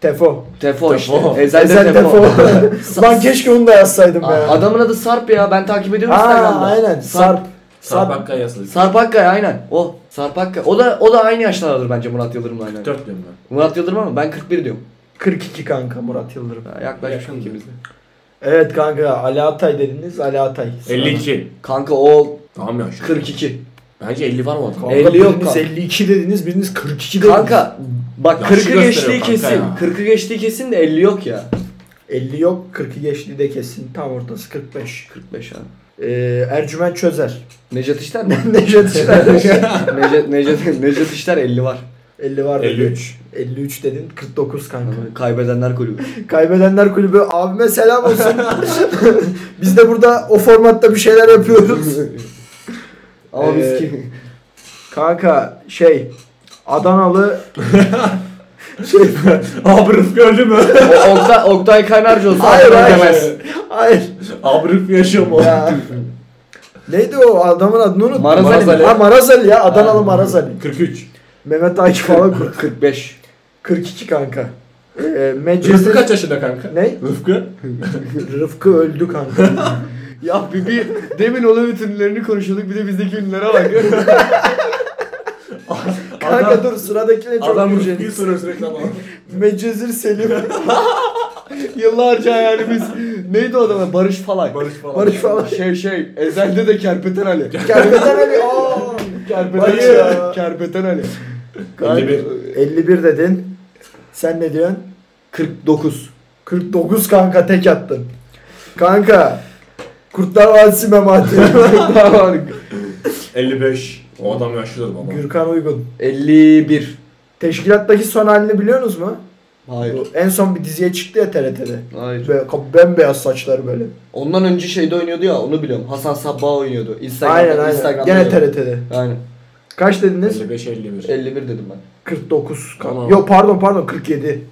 S1: Tefo.
S3: Tefo işte.
S2: Tefo.
S3: Ezel'de
S1: Ezel
S3: Tefo.
S1: Tefo. Lan keşke onu da yazsaydım
S3: Aa,
S1: be.
S3: Adamın adı Sarp ya. Ben takip ediyorum
S1: Aa,
S3: Instagram'da.
S1: aynen. Sarp.
S2: Sarp
S1: Sarp.
S2: Akkaya yazdı.
S3: Sarp Akkaya aynen. O Sarp Akkaya. O da o da aynı yaşlardadır bence Murat Yıldırım'la aynen.
S2: 44 diyorum ben.
S3: Murat Yıldırım ama ben 41 diyorum.
S1: 42 kanka Murat Yıldırım.
S3: Ha, Yaklaşık
S2: Yakın.
S3: ikimiz de.
S1: Evet kanka Ali Atay dediniz. Ali Atay.
S2: 52.
S3: Kanka o
S2: Tamam yaşlı.
S3: 42.
S2: Bence 50 var o adam.
S1: Kanka
S3: 50 yok
S1: biriniz
S3: kanka.
S1: 52 dediniz, biriniz 42 dediniz.
S3: Kanka bak
S2: Yaşı
S3: 40'ı geçtiği
S2: gösteriyor kanka
S3: kesin.
S2: ya.
S3: 40'ı geçtiği kesin de 50 yok ya.
S1: 50 yok, 40'ı geçti de kesin. Tam ortası 45.
S3: 45 abi.
S1: Ee, Ercüment Çözer.
S3: Necdet İşler mi?
S1: Necdet İşler.
S3: Necdet, Necdet, Necdet İşler 50 var.
S1: 50 var dedi.
S2: 53.
S1: 53 dedin, 49 kanka.
S3: Kaybedenler kulübü.
S1: Kaybedenler Kulübü abime selam olsun. Biz de burada o formatta bir şeyler yapıyoruz.
S3: Ama
S1: Ee,
S3: biz ki...
S1: Kanka şey Adanalı şey
S2: Abi Rıfkı öldü mü?
S3: O- Oktay, Oktay Kaynarca olsa
S1: hayır
S3: adam demez.
S1: hayır. hayır.
S2: Abi Rıfkı yaşıyor mu?
S1: Ya. Neydi o adamın adını unuttum. Hani-
S3: Maraz Ali.
S1: Ha Maraz Ali ya Adanalı
S3: Ha.
S1: Maraz Ali.
S2: 43.
S1: Mehmet Akif falan kurt.
S3: 45.
S1: 42 kanka. Ee,
S2: Rıfkı
S1: Medcezir...
S2: kaç yaşında kanka?
S1: Ne?
S2: Rıfkı?
S1: Rıfkı öldü kanka.
S3: Ya bir, bir demin olan ünlülerini konuşuyorduk bir de bizdeki ünlülere bak.
S1: kanka dur sıradakine çok
S2: Adam
S1: güzel.
S2: Rıfkı'yı soruyor sürekli ama.
S1: Medcezir Selim.
S3: Yıllarca yani biz neydi o adamın Barış Falay.
S2: Barış Falay.
S1: Barış Falay.
S3: Şey şey Ezel'de de Kerpeten Ali.
S1: Kerpeten Ali. Aa.
S3: Kerpeten
S1: Barış
S3: Ali.
S1: ya.
S3: Kerpeten Ali.
S1: Kanka,
S2: 51.
S1: 51 dedin. Sen ne diyorsun?
S3: 49.
S1: 49 kanka tek attın. Kanka. Kurtlar Vadisi memati.
S3: Daha var.
S2: 55. O adam yaşlıdır baba.
S1: Gürkan Uygun.
S3: 51.
S1: Teşkilattaki son halini biliyorsunuz mu?
S3: Hayır.
S1: Bu En son bir diziye çıktı ya TRT'de.
S3: Hayır.
S1: Böyle kap- bembeyaz saçlar böyle.
S3: Ondan önce şeyde oynuyordu ya onu biliyorum. Hasan Sabbah oynuyordu. Instagram'da.
S1: Aynen aynen.
S3: Instagram'da
S1: Gene
S3: oynuyordu.
S1: TRT'de.
S3: Aynen.
S1: Kaç dediniz?
S2: 55 51.
S3: 51 dedim ben.
S1: 49 kanka.
S2: Tamam.
S1: Yok pardon pardon 47.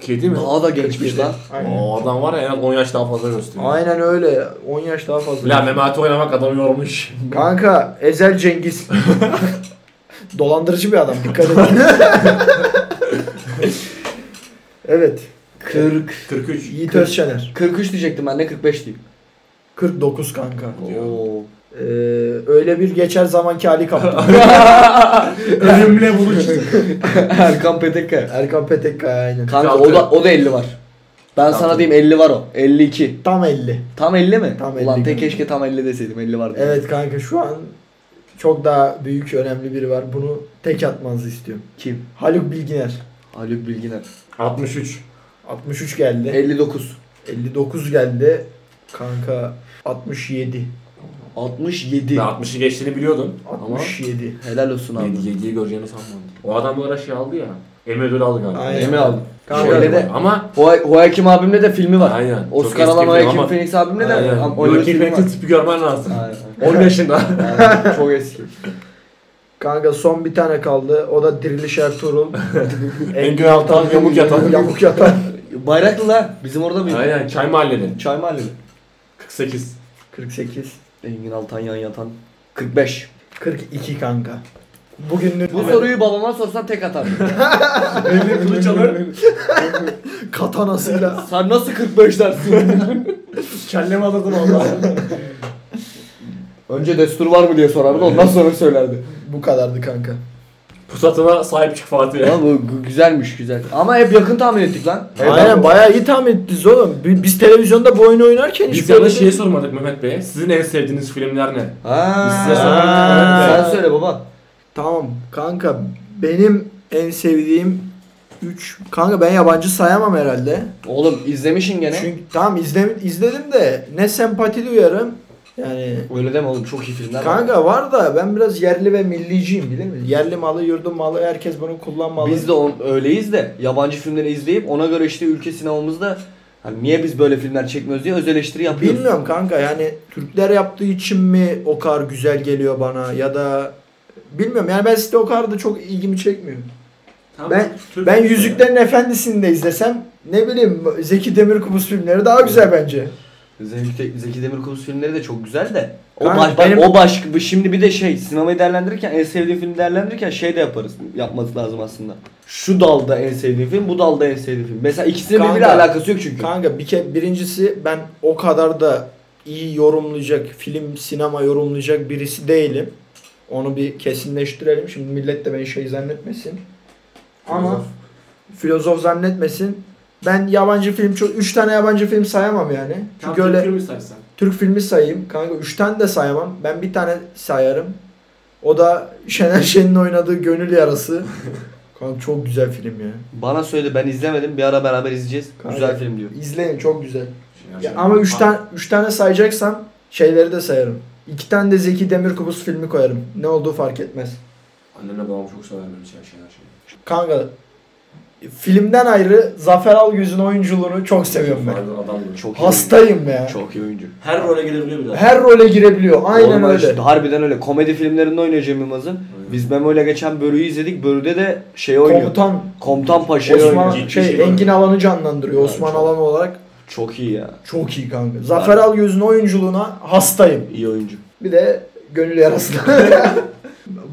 S2: Kedi mi?
S3: Daha da gençmiş lan.
S1: Aynen.
S2: O adam var ya en az 10 yaş daha fazla gösteriyor.
S1: Aynen öyle. 10 yaş daha fazla.
S2: La Memati oynamak adamı yormuş.
S1: Kanka Ezel Cengiz. Dolandırıcı bir adam dikkat edin. evet.
S3: 40.
S2: 43.
S1: Yiğit Özşener.
S3: 43 diyecektim ben de 45 diyeyim.
S1: 49 kanka.
S2: Diyor.
S3: Oo.
S1: Ee, öyle bir geçer zamanki hali kaptı.
S2: Ölümle buluştuk.
S3: Erkan Petekkaya.
S1: Erkan Petekkaya aynen.
S3: Kanka
S2: Kaldı.
S3: o da o da 50 var. Ben
S2: Kaldı.
S3: sana diyeyim 50 var o. 52.
S1: Tam 50.
S3: Tam 50 mi?
S1: Tam
S3: Ulan
S1: 50
S3: tek
S1: gibi.
S3: keşke tam 50 deseydim 50 vardı.
S1: Evet kanka şu an çok daha büyük önemli biri var. Bunu tek atmanızı istiyorum.
S3: Kim?
S1: Haluk Bilginer.
S3: Haluk Bilginer.
S2: 63.
S1: 63 geldi.
S3: 59.
S1: 59 geldi. Kanka 67.
S3: 67.
S2: Ben 60'ı geçtiğini biliyordum. Ama
S1: 67.
S3: Helal olsun abi.
S2: 7'yi göreceğini sanmadım. O adam bu ara şey aldı ya. Emmy ödülü aldı galiba. Şey
S1: Aynen.
S3: Emre aldım.
S1: Kanka-
S3: Şöyle de
S2: Ama
S3: Ho- Hoyakim abimle de filmi var.
S2: Aynen. Çok
S3: Oscar
S2: eski
S3: alan
S2: film
S3: Hoyakim
S2: ama-
S3: Phoenix abimle de
S2: Aynen.
S3: am- oynadığı
S2: Joaquin
S3: filmi var.
S2: Phoenix'in tipi görmen lazım.
S3: Aynen.
S2: 10 yaşında.
S3: Aynen. Çok eski.
S1: Kanka son bir tane kaldı. O da Diriliş Ertuğrul.
S2: Engin Altan, Yamuk Yatan.
S1: Yamuk Yatan.
S3: Bayraklı la. Bizim orada bir
S2: Aynen Çay Mahalleli.
S3: çay mahalleli.
S2: 48.
S1: 48.
S3: Engin Altan yan yatan. 45.
S1: 42 kanka. Bugünlük
S3: Bu soruyu babama sorsan tek atar.
S2: Emre Kılıç alır.
S1: katanasıyla
S3: Sen nasıl 45 dersin?
S2: Kellemi alırdın Allah.
S3: Önce destur var mı diye sorardı ondan sonra söylerdi.
S1: bu kadardı kanka.
S2: Pusatına sahip çık Fatih.
S3: Ama bu gü- güzelmiş güzel. Ama hep yakın tahmin ettik lan.
S1: Aynen bayağı iyi tahmin ettiniz oğlum. Bi- Biz televizyonda bu oyunu oynarken hiç
S2: Biz
S1: böyle
S2: yanlış şey sormadık Mehmet Bey. Sizin en sevdiğiniz filmler ne?
S3: Ha.
S2: Biz size
S1: soralım.
S3: Ha. Sen söyle baba.
S1: Tamam kanka benim en sevdiğim 3 kanka ben yabancı sayamam herhalde.
S3: Oğlum izlemişin gene.
S1: Çünkü tamam izledim, izledim de ne sempati duyarım. Yani
S3: Öyle deme oğlum çok iyi filmler var.
S1: kanka var da ben biraz yerli ve milliciyim bilir misin? Yerli malı, yurdum malı herkes bunu kullanmalı.
S3: Biz de on, öyleyiz de yabancı filmleri izleyip ona göre işte ülke sinemamızda hani niye biz böyle filmler çekmiyoruz diye öz eleştiri yapıyoruz.
S1: Bilmiyorum kanka yani Türkler yaptığı için mi o kadar güzel geliyor bana ya da bilmiyorum yani ben size o kadar da çok ilgimi çekmiyor. Ben- Ben Yüzüklerin Efendisi'ni de izlesem ne bileyim Zeki Demirkubuz filmleri daha güzel bence.
S3: Zeki, Zeki Demirkubuz filmleri de çok güzel de. O
S1: Kanka
S3: baş, bak
S1: benim-
S3: o baş bu şimdi bir de şey sinemayı değerlendirirken en sevdiğim filmi değerlendirirken şey de yaparız. Yapması lazım aslında. Şu dalda en sevdiğim film, bu dalda en sevdiğim film. Mesela ikisinin
S1: Kanka-
S3: birbiriyle alakası yok çünkü.
S1: Kanka bir ke birincisi ben o kadar da iyi yorumlayacak film sinema yorumlayacak birisi değilim. Onu bir kesinleştirelim. Şimdi millet de beni şey zannetmesin. Ama
S2: Filozof.
S1: filozof zannetmesin. Ben yabancı film çok 3 tane yabancı film sayamam yani. Çünkü öyle
S2: film istersen.
S1: Türk filmi sayayım. Kanka 3 tane de sayamam. Ben bir tane sayarım. O da Şener Şen'in oynadığı Gönül Yarası. Kanka çok güzel film ya.
S3: Bana söyledi ben izlemedim. Bir ara beraber izleyeceğiz.
S1: Kanka.
S3: Güzel film diyor.
S1: İzleyin çok güzel. Ya ama 3 tane 3 tane sayacaksam şeyleri de sayarım. 2 tane de Zeki Demirkubuz filmi koyarım. Ne olduğu fark etmez.
S2: Annemle babam çok sever böyle şeyler şeyler. şeyler.
S1: Kanka filmden ayrı Zafer Algöz'ün oyunculuğunu çok seviyorum ben.
S2: Pardon adam da çok.
S3: Çok iyi
S1: Hastayım ya.
S3: oyuncu. Çok iyi oyuncu.
S2: Her role girebiliyor bir
S1: Her role girebiliyor. Aynen
S3: Normal
S1: öyle.
S3: işte, harbiden öyle. Komedi filmlerinde oynuyor Cem Yılmaz'ın. Biz Memo'yla geçen Börü'yü izledik. Börü'de de şey oynuyor. Komutan,
S1: Komutan
S3: Paşa'yı oynuyor.
S1: Osman
S2: ciddi
S1: şey
S2: şey var.
S1: Engin Alan'ı canlandırıyor
S3: Yani
S1: Osman
S3: çok-
S1: Alan olarak.
S3: Çok iyi ya.
S1: Çok iyi kanka. Zafer Algöz'ün oyunculuğuna hastayım.
S3: İyi oyuncu.
S1: Bir de gönül yarasına.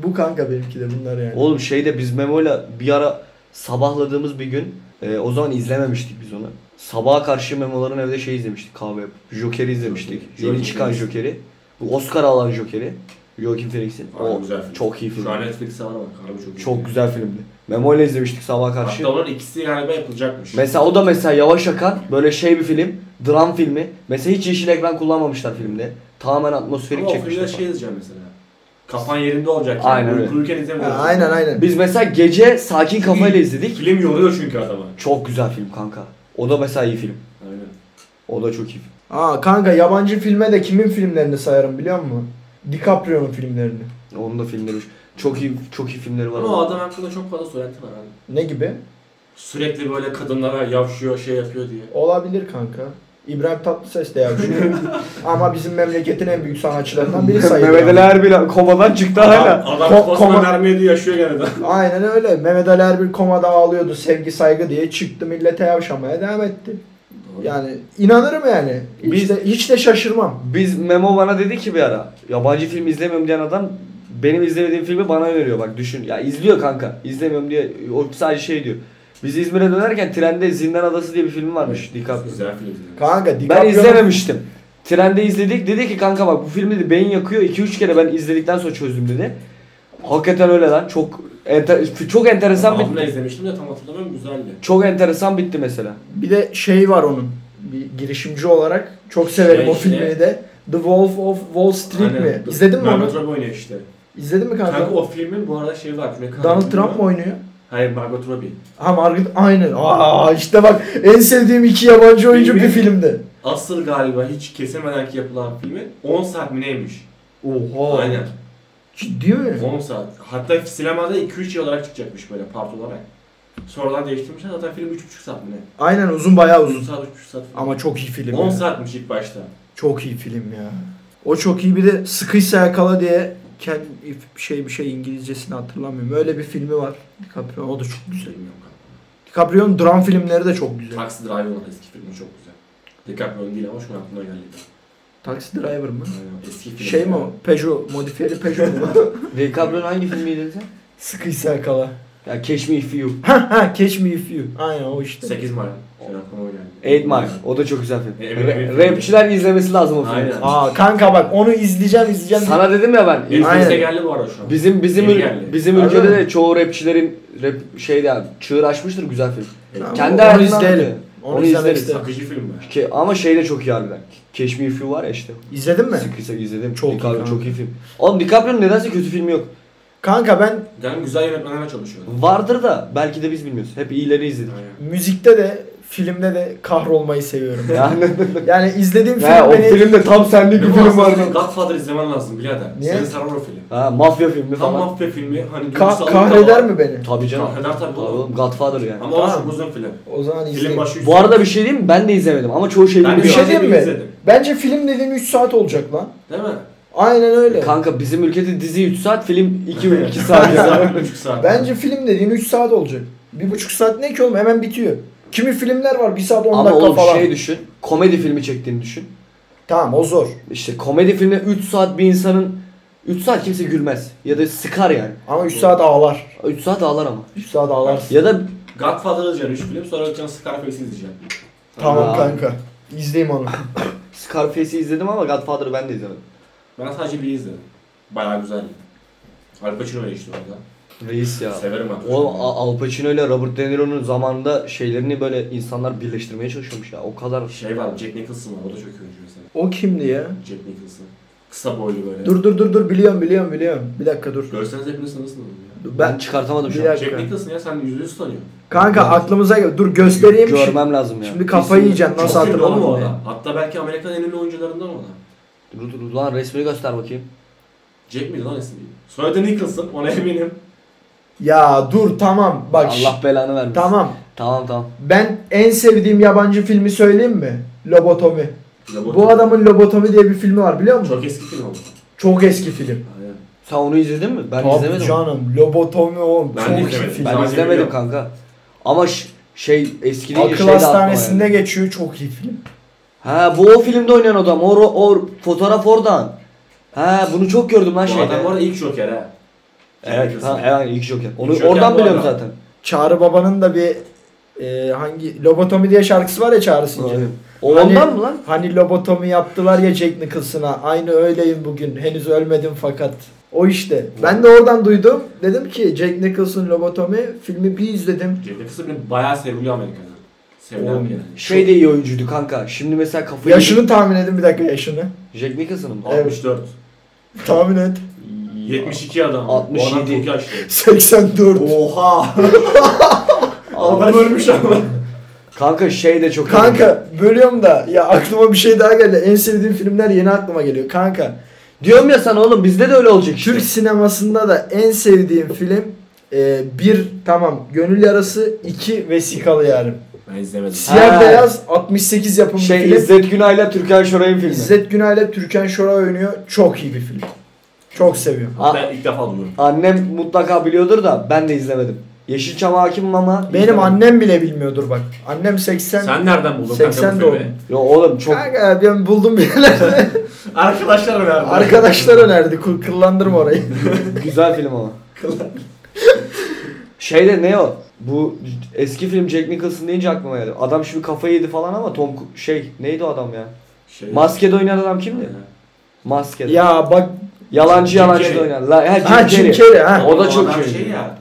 S1: Bu kanka benimki de bunlar yani.
S3: Oğlum şeyde biz Memo'yla bir ara sabahladığımız bir gün e, o zaman izlememiştik biz onu. Sabaha karşı Memo'ların evde şey izlemiştik kahve yapıp. Joker'i izlemiştik.
S2: Joker.
S3: Yeni çıkan Joker'i. Bu Oscar alan Joker'i. Joaquin Phoenix'in.
S2: Aynen,
S3: O
S2: güzel film.
S3: çok iyi
S2: Şu an
S3: film.
S2: Netflix'e var ama harbi çok iyi.
S3: Çok güzel filmdi. Memo ile izlemiştik sabah karşı.
S2: Hatta onun ikisi galiba yapılacakmış.
S3: Mesela o da mesela yavaş akan böyle şey bir film. Dram filmi. Mesela hiç yeşil ekran kullanmamışlar filmde. Tamamen atmosferik
S2: Ama o filmde
S3: çekmişler.
S2: şey yazacağım mesela. Kafan yerinde olacak. Yani.
S3: Aynen öyle.
S2: Uyurken
S1: Ha,
S2: izlemiyorsun.
S1: aynen aynen.
S3: Biz mesela gece sakin kafayla izledik.
S2: Film yoruyor çünkü adamı.
S3: Çok güzel film kanka. O da mesela iyi film.
S2: Aynen.
S3: O da çok iyi film.
S1: Aa kanka yabancı filme de kimin filmlerini sayarım biliyor musun? DiCaprio'nun filmlerini.
S3: Onun da filmleri çok iyi çok iyi filmleri var.
S2: Ama o adam hakkında çok fazla söylenti var abi.
S1: Ne gibi?
S2: Sürekli böyle kadınlara yavşıyor, şey yapıyor diye.
S1: Olabilir kanka. İbrahim Tatlıses de yapıyor. Ama bizim memleketin en büyük sanatçılarından biri sayılır.
S3: Mehmet Ali Er- Erbil komadan çıktı hala.
S2: Adam
S1: Ko-
S2: kafasına
S1: koma-
S2: mermi yedi, yaşıyor gene de.
S1: Aynen öyle. Mehmet Ali Erbil komada ağlıyordu sevgi saygı diye çıktı millete yavşamaya devam etti. Yani inanırım yani. Hiç,
S3: Biz-
S1: de, hiç de şaşırmam.
S3: Biz Memo bana dedi ki bir ara yabancı film izlemiyorum diyen adam benim izlemediğim filmi bana öneriyor bak düşün. Ya izliyor kanka. izlemiyorum diye o sadece şey diyor. Biz İzmir'e dönerken trende Zindan Adası diye bir film varmış DiCaprio.
S2: Güzel film. izledim.
S1: Kanka
S3: Ben
S1: DiCaprio'nun-
S3: izlememiştim. Trende izledik. Dedi ki kanka bak bu filmi de beyin yakıyor. 2-3 kere ben izledikten sonra çözdüm dedi. Hakikaten öyle lan. Çok enter- çok enteresan
S2: Abimle
S3: bitti.
S2: izlemiştim de tam hatırlamıyorum güzeldi.
S3: Çok enteresan bitti mesela.
S1: Bir de şey var onun. Bir girişimci olarak çok severim
S2: Şey,
S1: o filmini
S2: ne?
S1: de. The Wolf of Wall Street mi? İzledin mi onu?
S2: Margot Robbie oynuyor işte.
S1: İzledin mi kanka?
S2: Kanka o filmin bu arada şeyi var. ne kadar
S1: Donald
S2: bilmiyorum.
S1: Trump mı oynuyor?
S2: Hayır Margot Robbie.
S1: Ha Margaret aynı. Aa işte bak en sevdiğim iki yabancı oyuncu bir
S2: Filmi-
S1: filmde.
S2: Asıl galiba hiç kesilmeden ki yapılan filmi 10 saat mi neymiş?
S1: Oha.
S2: Aynen.
S1: Ciddi mi?
S2: 10 saat. Hatta sinemada 2-3 yıl olarak çıkacakmış böyle part olarak. Sonradan değiştirmişler zaten film 3,5 saat mi ne?
S1: Aynen uzun bayağı
S2: 3
S1: uzun.
S2: saat 3,5 saat falan.
S1: Ama çok iyi film.
S2: 10
S1: ya.
S2: saatmiş ilk başta.
S1: Çok iyi film ya. O çok iyi bir de sıkıysa yakala diye kendi bir şey bir şey İngilizcesini hatırlamıyorum. Öyle bir filmi var. DiCaprio o da çok güzel.
S2: Bilmiyorum kanka.
S1: DiCaprio'nun dram filmleri de çok güzel.
S2: Taxi Driver olan eski filmi çok güzel. DiCaprio'nun değil ama şu an aklıma geldi.
S1: Taxi Driver mı?
S2: Aynen, Eski film.
S1: Şey mi o? Peugeot. Modifiyeli Peugeot mu?
S3: DiCaprio'nun hangi filmiydi dedi?
S1: sıkıysa yakala.
S3: Ya Catch Me If You.
S1: Ha ha Catch Me If You. Aynen o işte.
S2: 8 Mile. Şu an aklıma geldi.
S3: 8 Mile. O da çok güzel film.
S2: Eminem
S3: Ra-
S2: filmi.
S3: Rapçiler izlemesi lazım o filmi.
S2: Aynen.
S1: Aa kanka bak onu izleyeceğim izleyeceğim.
S3: Sana dedim ya ben.
S1: Aynen.
S2: Netflix'e geldi bu arada şu an.
S3: Bizim bizim
S2: Yeni
S3: ül-
S2: geldi.
S3: bizim
S1: Harbi
S3: ülkede
S1: mi?
S3: de çoğu rapçilerin rap şeyde yani çığır açmıştır güzel film.
S1: Tamam,
S3: Kendi
S1: onu
S3: hayatından
S1: izleyelim.
S3: atıyor.
S1: Onu,
S3: Onu
S1: izlemek
S3: izleriz.
S1: isterim.
S2: Akıcı film be.
S3: Ki, ama şey de çok iyi harbiden. Catch Me If You var ya işte.
S1: İzledin mi?
S3: Sıkıysa izledim.
S1: Çok
S3: Çok
S1: iyi kanka.
S3: çok iyi film. Oğlum DiCaprio'nun nedense kötü filmi yok.
S1: Kanka ben
S2: Yani güzel yönetmenlerle çalışıyor.
S3: Vardır da belki de biz bilmiyoruz. Hep iyileri izledik.
S2: Aynen.
S1: müzikte de filmde de kahrolmayı seviyorum.
S3: Yani,
S1: Yani izlediğim film
S3: ya, o
S1: beni...
S3: film de tam senlik bir
S2: Ama
S3: film
S2: aslında
S3: vardı.
S2: senin Godfather izlemen lazım birader.
S1: Niye?
S2: Seni sarar o film.
S3: Ha mafya filmi
S2: Tam
S3: falan.
S2: mafya filmi hani
S1: Ka-
S2: duygusal
S1: kahreder mi beni?
S3: Tabii canım.
S2: Kahreder tabii
S3: Tabii
S2: oğlum.
S3: oğlum Godfather yani.
S2: Ama o
S1: Tamam.
S2: çok uzun film.
S1: O zaman
S2: Film
S1: izleyelim.
S2: başı üç
S3: Bu
S2: saat.
S3: arada bir şey diyeyim mi? Ben de izlemedim ama çoğu şeyi
S2: Ben de
S1: Bir şey
S3: bilmiyorum.
S1: diyeyim
S2: Sadece
S1: mi?
S2: izledim.
S1: Bence film dediğin 3 saat olacak lan.
S2: Değil
S3: şey-
S2: mi?
S1: Aynen öyle.
S3: E, Kanka bizim ülkede dizi 3 saat, film 2 2 saat.
S2: Bir
S3: yani.
S2: saat, bir buçuk saat.
S1: Bence film dediğin 3 saat olacak. 1,5 saat ne ki oğlum hemen bitiyor. Kimi filmler var 1 saat 10
S3: Ama
S1: dakika
S3: oğlum
S1: falan.
S3: şey düşün. Komedi filmi çektiğini düşün.
S1: Tamam o zor.
S3: İşte komedi filmi 3 saat bir insanın 3 saat kimse gülmez ya da sıkar yani.
S1: Ama 3 saat ağlar.
S3: 3 saat ağlar ama.
S1: 3 saat ağlarsın.
S3: Ya da
S2: Godfather izleyeceksin 3 film sonra alacaksın Scarface'i izleyeceksin.
S1: Tamam
S3: Ya.
S1: kanka. İzleyeyim onu.
S3: Scarface'i izledim ama Godfather'ı ben de izlemedim.
S2: Ben sadece bir izledim. Bayağı güzeldi. Al Pacino oynuyor işte orada.
S3: Reis ya.
S2: Severim ben.
S3: Oğlum A- Al Pacino ile Robert De Niro'nun zamanında şeylerini böyle insanlar birleştirmeye çalışıyormuş ya. O kadar
S2: Şey var Jack Nicholson var o da çok iyi oyuncu mesela.
S1: O kimdi ya?
S2: Jack Nicholson. Kısa boylu böyle.
S1: Dur dur dur dur biliyorum biliyorum biliyorum. Bir dakika dur.
S2: Görseniz hepiniz tanırsınız onu ya.
S1: Dur,
S3: ben
S1: Ben
S3: çıkartamadım
S1: Bir
S3: şu an.
S1: dakika.
S2: Jack Nicholson ya sen yüzde yüz tanıyorsun.
S1: kanka aklımıza gel. Dur göstereyim. şimdi. şey
S3: Görmem lazım ya.
S1: Şimdi kafayı yiyeceğim nasıl
S2: Çok ünlü oğlum o
S1: hatırlamadım.
S2: adam.
S1: ya.
S2: Hatta belki Amerika'nın en ünlü oyuncularından o adam.
S3: Dur dur lan resmini göster bakayım.
S2: Jack miydi lan ismi? Soyadı Nicholson ona eminim.
S1: Ya dur tamam bak.
S3: Allah belanı vermesin.
S1: Tamam.
S3: Tamam tamam.
S1: Ben en sevdiğim yabancı filmi söyleyeyim mi? Lobotomi. Bu adamın Lobotomi diye bir filmi var biliyor musun?
S2: Çok eski film oldu.
S1: Çok eski film.
S2: Aynen.
S3: Sen onu izledin mi? Ben
S1: Tabii
S3: izlemedim.
S1: canım. Lobotomi oğlum.
S2: Ben de
S1: çok iyi
S2: izlemedim.
S1: film.
S3: Ben
S2: Sadece
S3: izlemedim
S2: biliyorum.
S3: kanka. Ama ş- şey eski değil.
S1: Akıl
S3: şey de aklıma
S1: Hastanesi'nde
S3: geldi.
S1: geçiyor çok iyi film.
S3: Ha bu o filmde oynayan adam. O, ro- o fotoğraf oradan. Ha bunu çok gördüm lan
S2: Bu
S3: şeyde.
S2: adam bu arada ilk Joker ha.
S3: Evet,
S2: Jack
S3: ha,
S2: Nicholson.
S3: evet ilk Joker. Onu
S2: İlk Joker
S3: oradan
S2: bu
S3: biliyorum
S2: adam.
S3: zaten.
S1: Çağrı Baba'nın da bir e, hangi Lobotomi diye şarkısı var ya Çağrı Sincan'ın.
S3: O
S1: Hani-
S3: ondan mı lan?
S1: Hani lobotomi yaptılar ya Jack Nicholson'a. Aynı öyleyim bugün. Henüz ölmedim fakat. O işte. Ben de oradan duydum. Dedim ki Jack Nicholson lobotomi filmi bir izledim.
S2: Jack Nicholson bile bayağı seviliyor Amerika'da. Sevilen
S1: Oğlum.
S2: bir yani.
S3: Şey de iyi oyuncuydu kanka. Şimdi mesela kafayı...
S1: Yaşını tahmin edin bir dakika yaşını.
S3: Jack Nicholson'ın mı?
S1: Evet.
S2: 64.
S1: Tahmin et.
S2: 72 adam.
S3: 67.
S2: Bu adam çok yaşlı.
S1: 84.
S2: Oha. Adam
S3: Adam-
S2: ölmüş ama.
S3: Kanka şey de çok
S1: Kanka bölüyorum da ya aklıma bir şey daha geldi. En sevdiğim filmler yeni aklıma geliyor. Kanka
S3: Diyorum ya sana oğlum bizde de öyle olacak işte.
S1: Türk sinemasında da en sevdiğim film e, bir tamam Gönül Yarası iki Vesikalı Yarim.
S2: Ben izlemedim.
S1: Siyah
S3: Ha.
S1: beyaz 68 yapımı bir
S3: Şey
S1: film.
S3: İzzet Günay'la Türkan Şoray'ın filmi.
S1: İzzet Günay ile Türkan Şoray oynuyor. Çok iyi bir film. Çok seviyorum.
S2: Hatta ilk defa duyuyorum.
S3: Annem mutlaka biliyordur da ben de izlemedim. Yeşilçam'a hakimim ama...
S1: Benim annem bile bilmiyordur bak. Annem 80.
S2: Sen nereden buldun
S1: 80
S2: kanka bu filmi?
S1: doğum.
S3: Yo oğlum çok...
S1: Kanka ben buldum bir yerlerde.
S2: Arkadaşlar önerdi.
S1: Arkadaşlar önerdi. kul- Kıllandırma orayı.
S3: Güzel film ama. şey de ne o? Bu eski film Jack Nicholson deyince aklıma geldi. Adam şimdi kafayı yedi falan ama Tom Cru- şey neydi o adam ya?
S2: Şey,
S3: Maskede oynayan adam kimdi? Maskede.
S1: ya bak.
S3: yalancı
S2: Jim
S3: yalancı da
S2: Carrey.
S3: oynayan. La, he, Jim
S1: Ha Jim
S3: Carrey.
S1: Carrey, ha.
S3: O da
S2: Bu
S3: çok
S2: adam
S3: iyi.
S2: şey ya.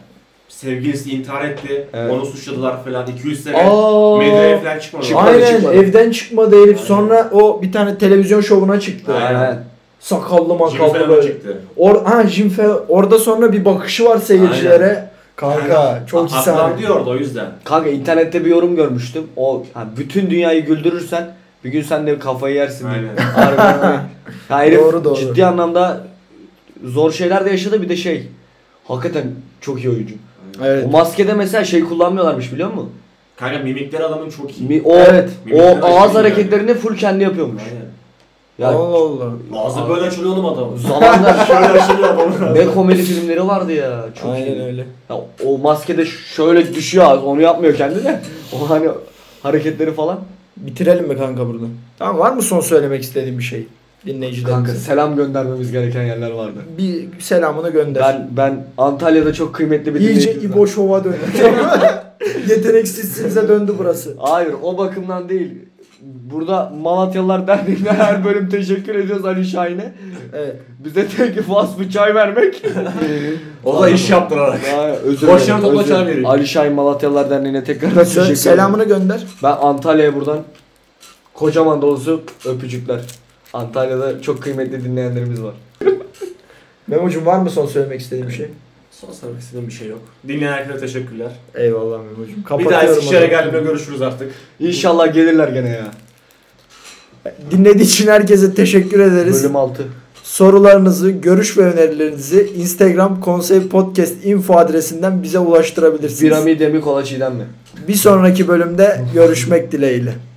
S2: Sevgilisi intihar etti.
S3: Evet.
S2: Onu suçladılar falan. 200 sene.
S1: Aa.
S2: Medyaya falan çıkmadı.
S3: Çıkmadı,
S1: Aynen
S3: çıkmadı.
S1: evden çıkmadı herif.
S2: Aynen.
S1: Sonra o bir tane televizyon şovuna çıktı.
S2: Aynen.
S3: Aynen.
S1: Sakallı
S2: Jimmy
S1: makallı
S2: Fallon
S1: böyle.
S2: çıktı.
S1: Or ha Jim Fallon. Orada sonra bir bakışı var seyircilere. Kanka çok iyi
S2: Atlan
S1: sahne.
S2: diyordu o yüzden.
S3: Kanka internette bir yorum görmüştüm. O ha, bütün dünyayı güldürürsen bir gün sen de kafayı yersin diye.
S2: Aynen.
S3: Harbiden öyle. Ya herif
S1: Doğru, doğru.
S3: ciddi anlamda zor şeyler de yaşadı bir de şey. Hakikaten çok iyi oyuncu.
S1: Evet.
S3: O maskede mesela şey kullanmıyorlarmış biliyor musun?
S2: Kanka mimikler adamın çok iyi.
S3: Mi- o
S1: Evet.
S2: Mimikler
S3: o
S2: de
S3: ağız
S2: iyi
S3: hareketlerini full kendi yapıyormuş.
S2: Aynen.
S3: Ya
S1: Allah Allah.
S2: Ağzı böyle açılıyor oğlum adamın.
S3: zamanda
S2: Şöyle açılıyor adamın.
S3: ne komedi filmleri vardı ya çok iyi.
S1: öyle.
S3: Ya, o maskede şöyle düşüyor ağız onu yapmıyor kendi de. O hani hareketleri falan.
S1: Bitirelim mi kanka burada? Tamam var mı son söylemek istediğin bir şey? Dinleyicilerimize.
S3: Kanka selam göndermemiz gereken yerler vardı.
S1: Bir selamını gönder.
S3: Ben ben Antalya'da çok kıymetli bir
S1: İyice
S3: dinleyicimiz var.
S1: İbo Şov'a döndü. Yeteneksizsinize döndü burası.
S3: Hayır o bakımdan değil. Burada Malatyalılar Derneği'ne her bölüm teşekkür ediyoruz Ali Şahin'e.
S1: Evet.
S3: Bize tek fast bir çay vermek.
S2: O da iş yaptırarak.
S3: Ya, özür
S2: Boş
S3: dilerim,
S2: yan topla
S3: özür
S2: çay
S3: dilerim.
S2: vereyim.
S3: Ali Şahin Malatyalılar Derneği'ne tekrardan teşekkür
S1: Sö-
S3: ederim.
S1: selamını gönder.
S3: Ben Antalya'ya buradan kocaman dolusu öpücükler. Antalya'da çok kıymetli dinleyenlerimiz var.
S1: Memo'cum var mı son söylemek istediğin bir şey?
S2: Son sormak istediğim bir şey yok. Dinleyen herkese teşekkürler.
S1: Eyvallah Memo'cum.
S2: Bir daha
S1: Kapatıyorum.
S2: Eskişehir'e
S1: o zaman.
S2: geldiğinde görüşürüz artık.
S3: İnşallah gelirler gene ya.
S1: Dinlediği için herkese teşekkür ederiz.
S3: Bölüm 6.
S1: Sorularınızı, görüş ve önerilerinizi Instagram konsey podcast info adresinden bize ulaştırabilirsiniz.
S3: Piramide mi kola çiğden mi?
S1: Bir sonraki bölümde görüşmek dileğiyle.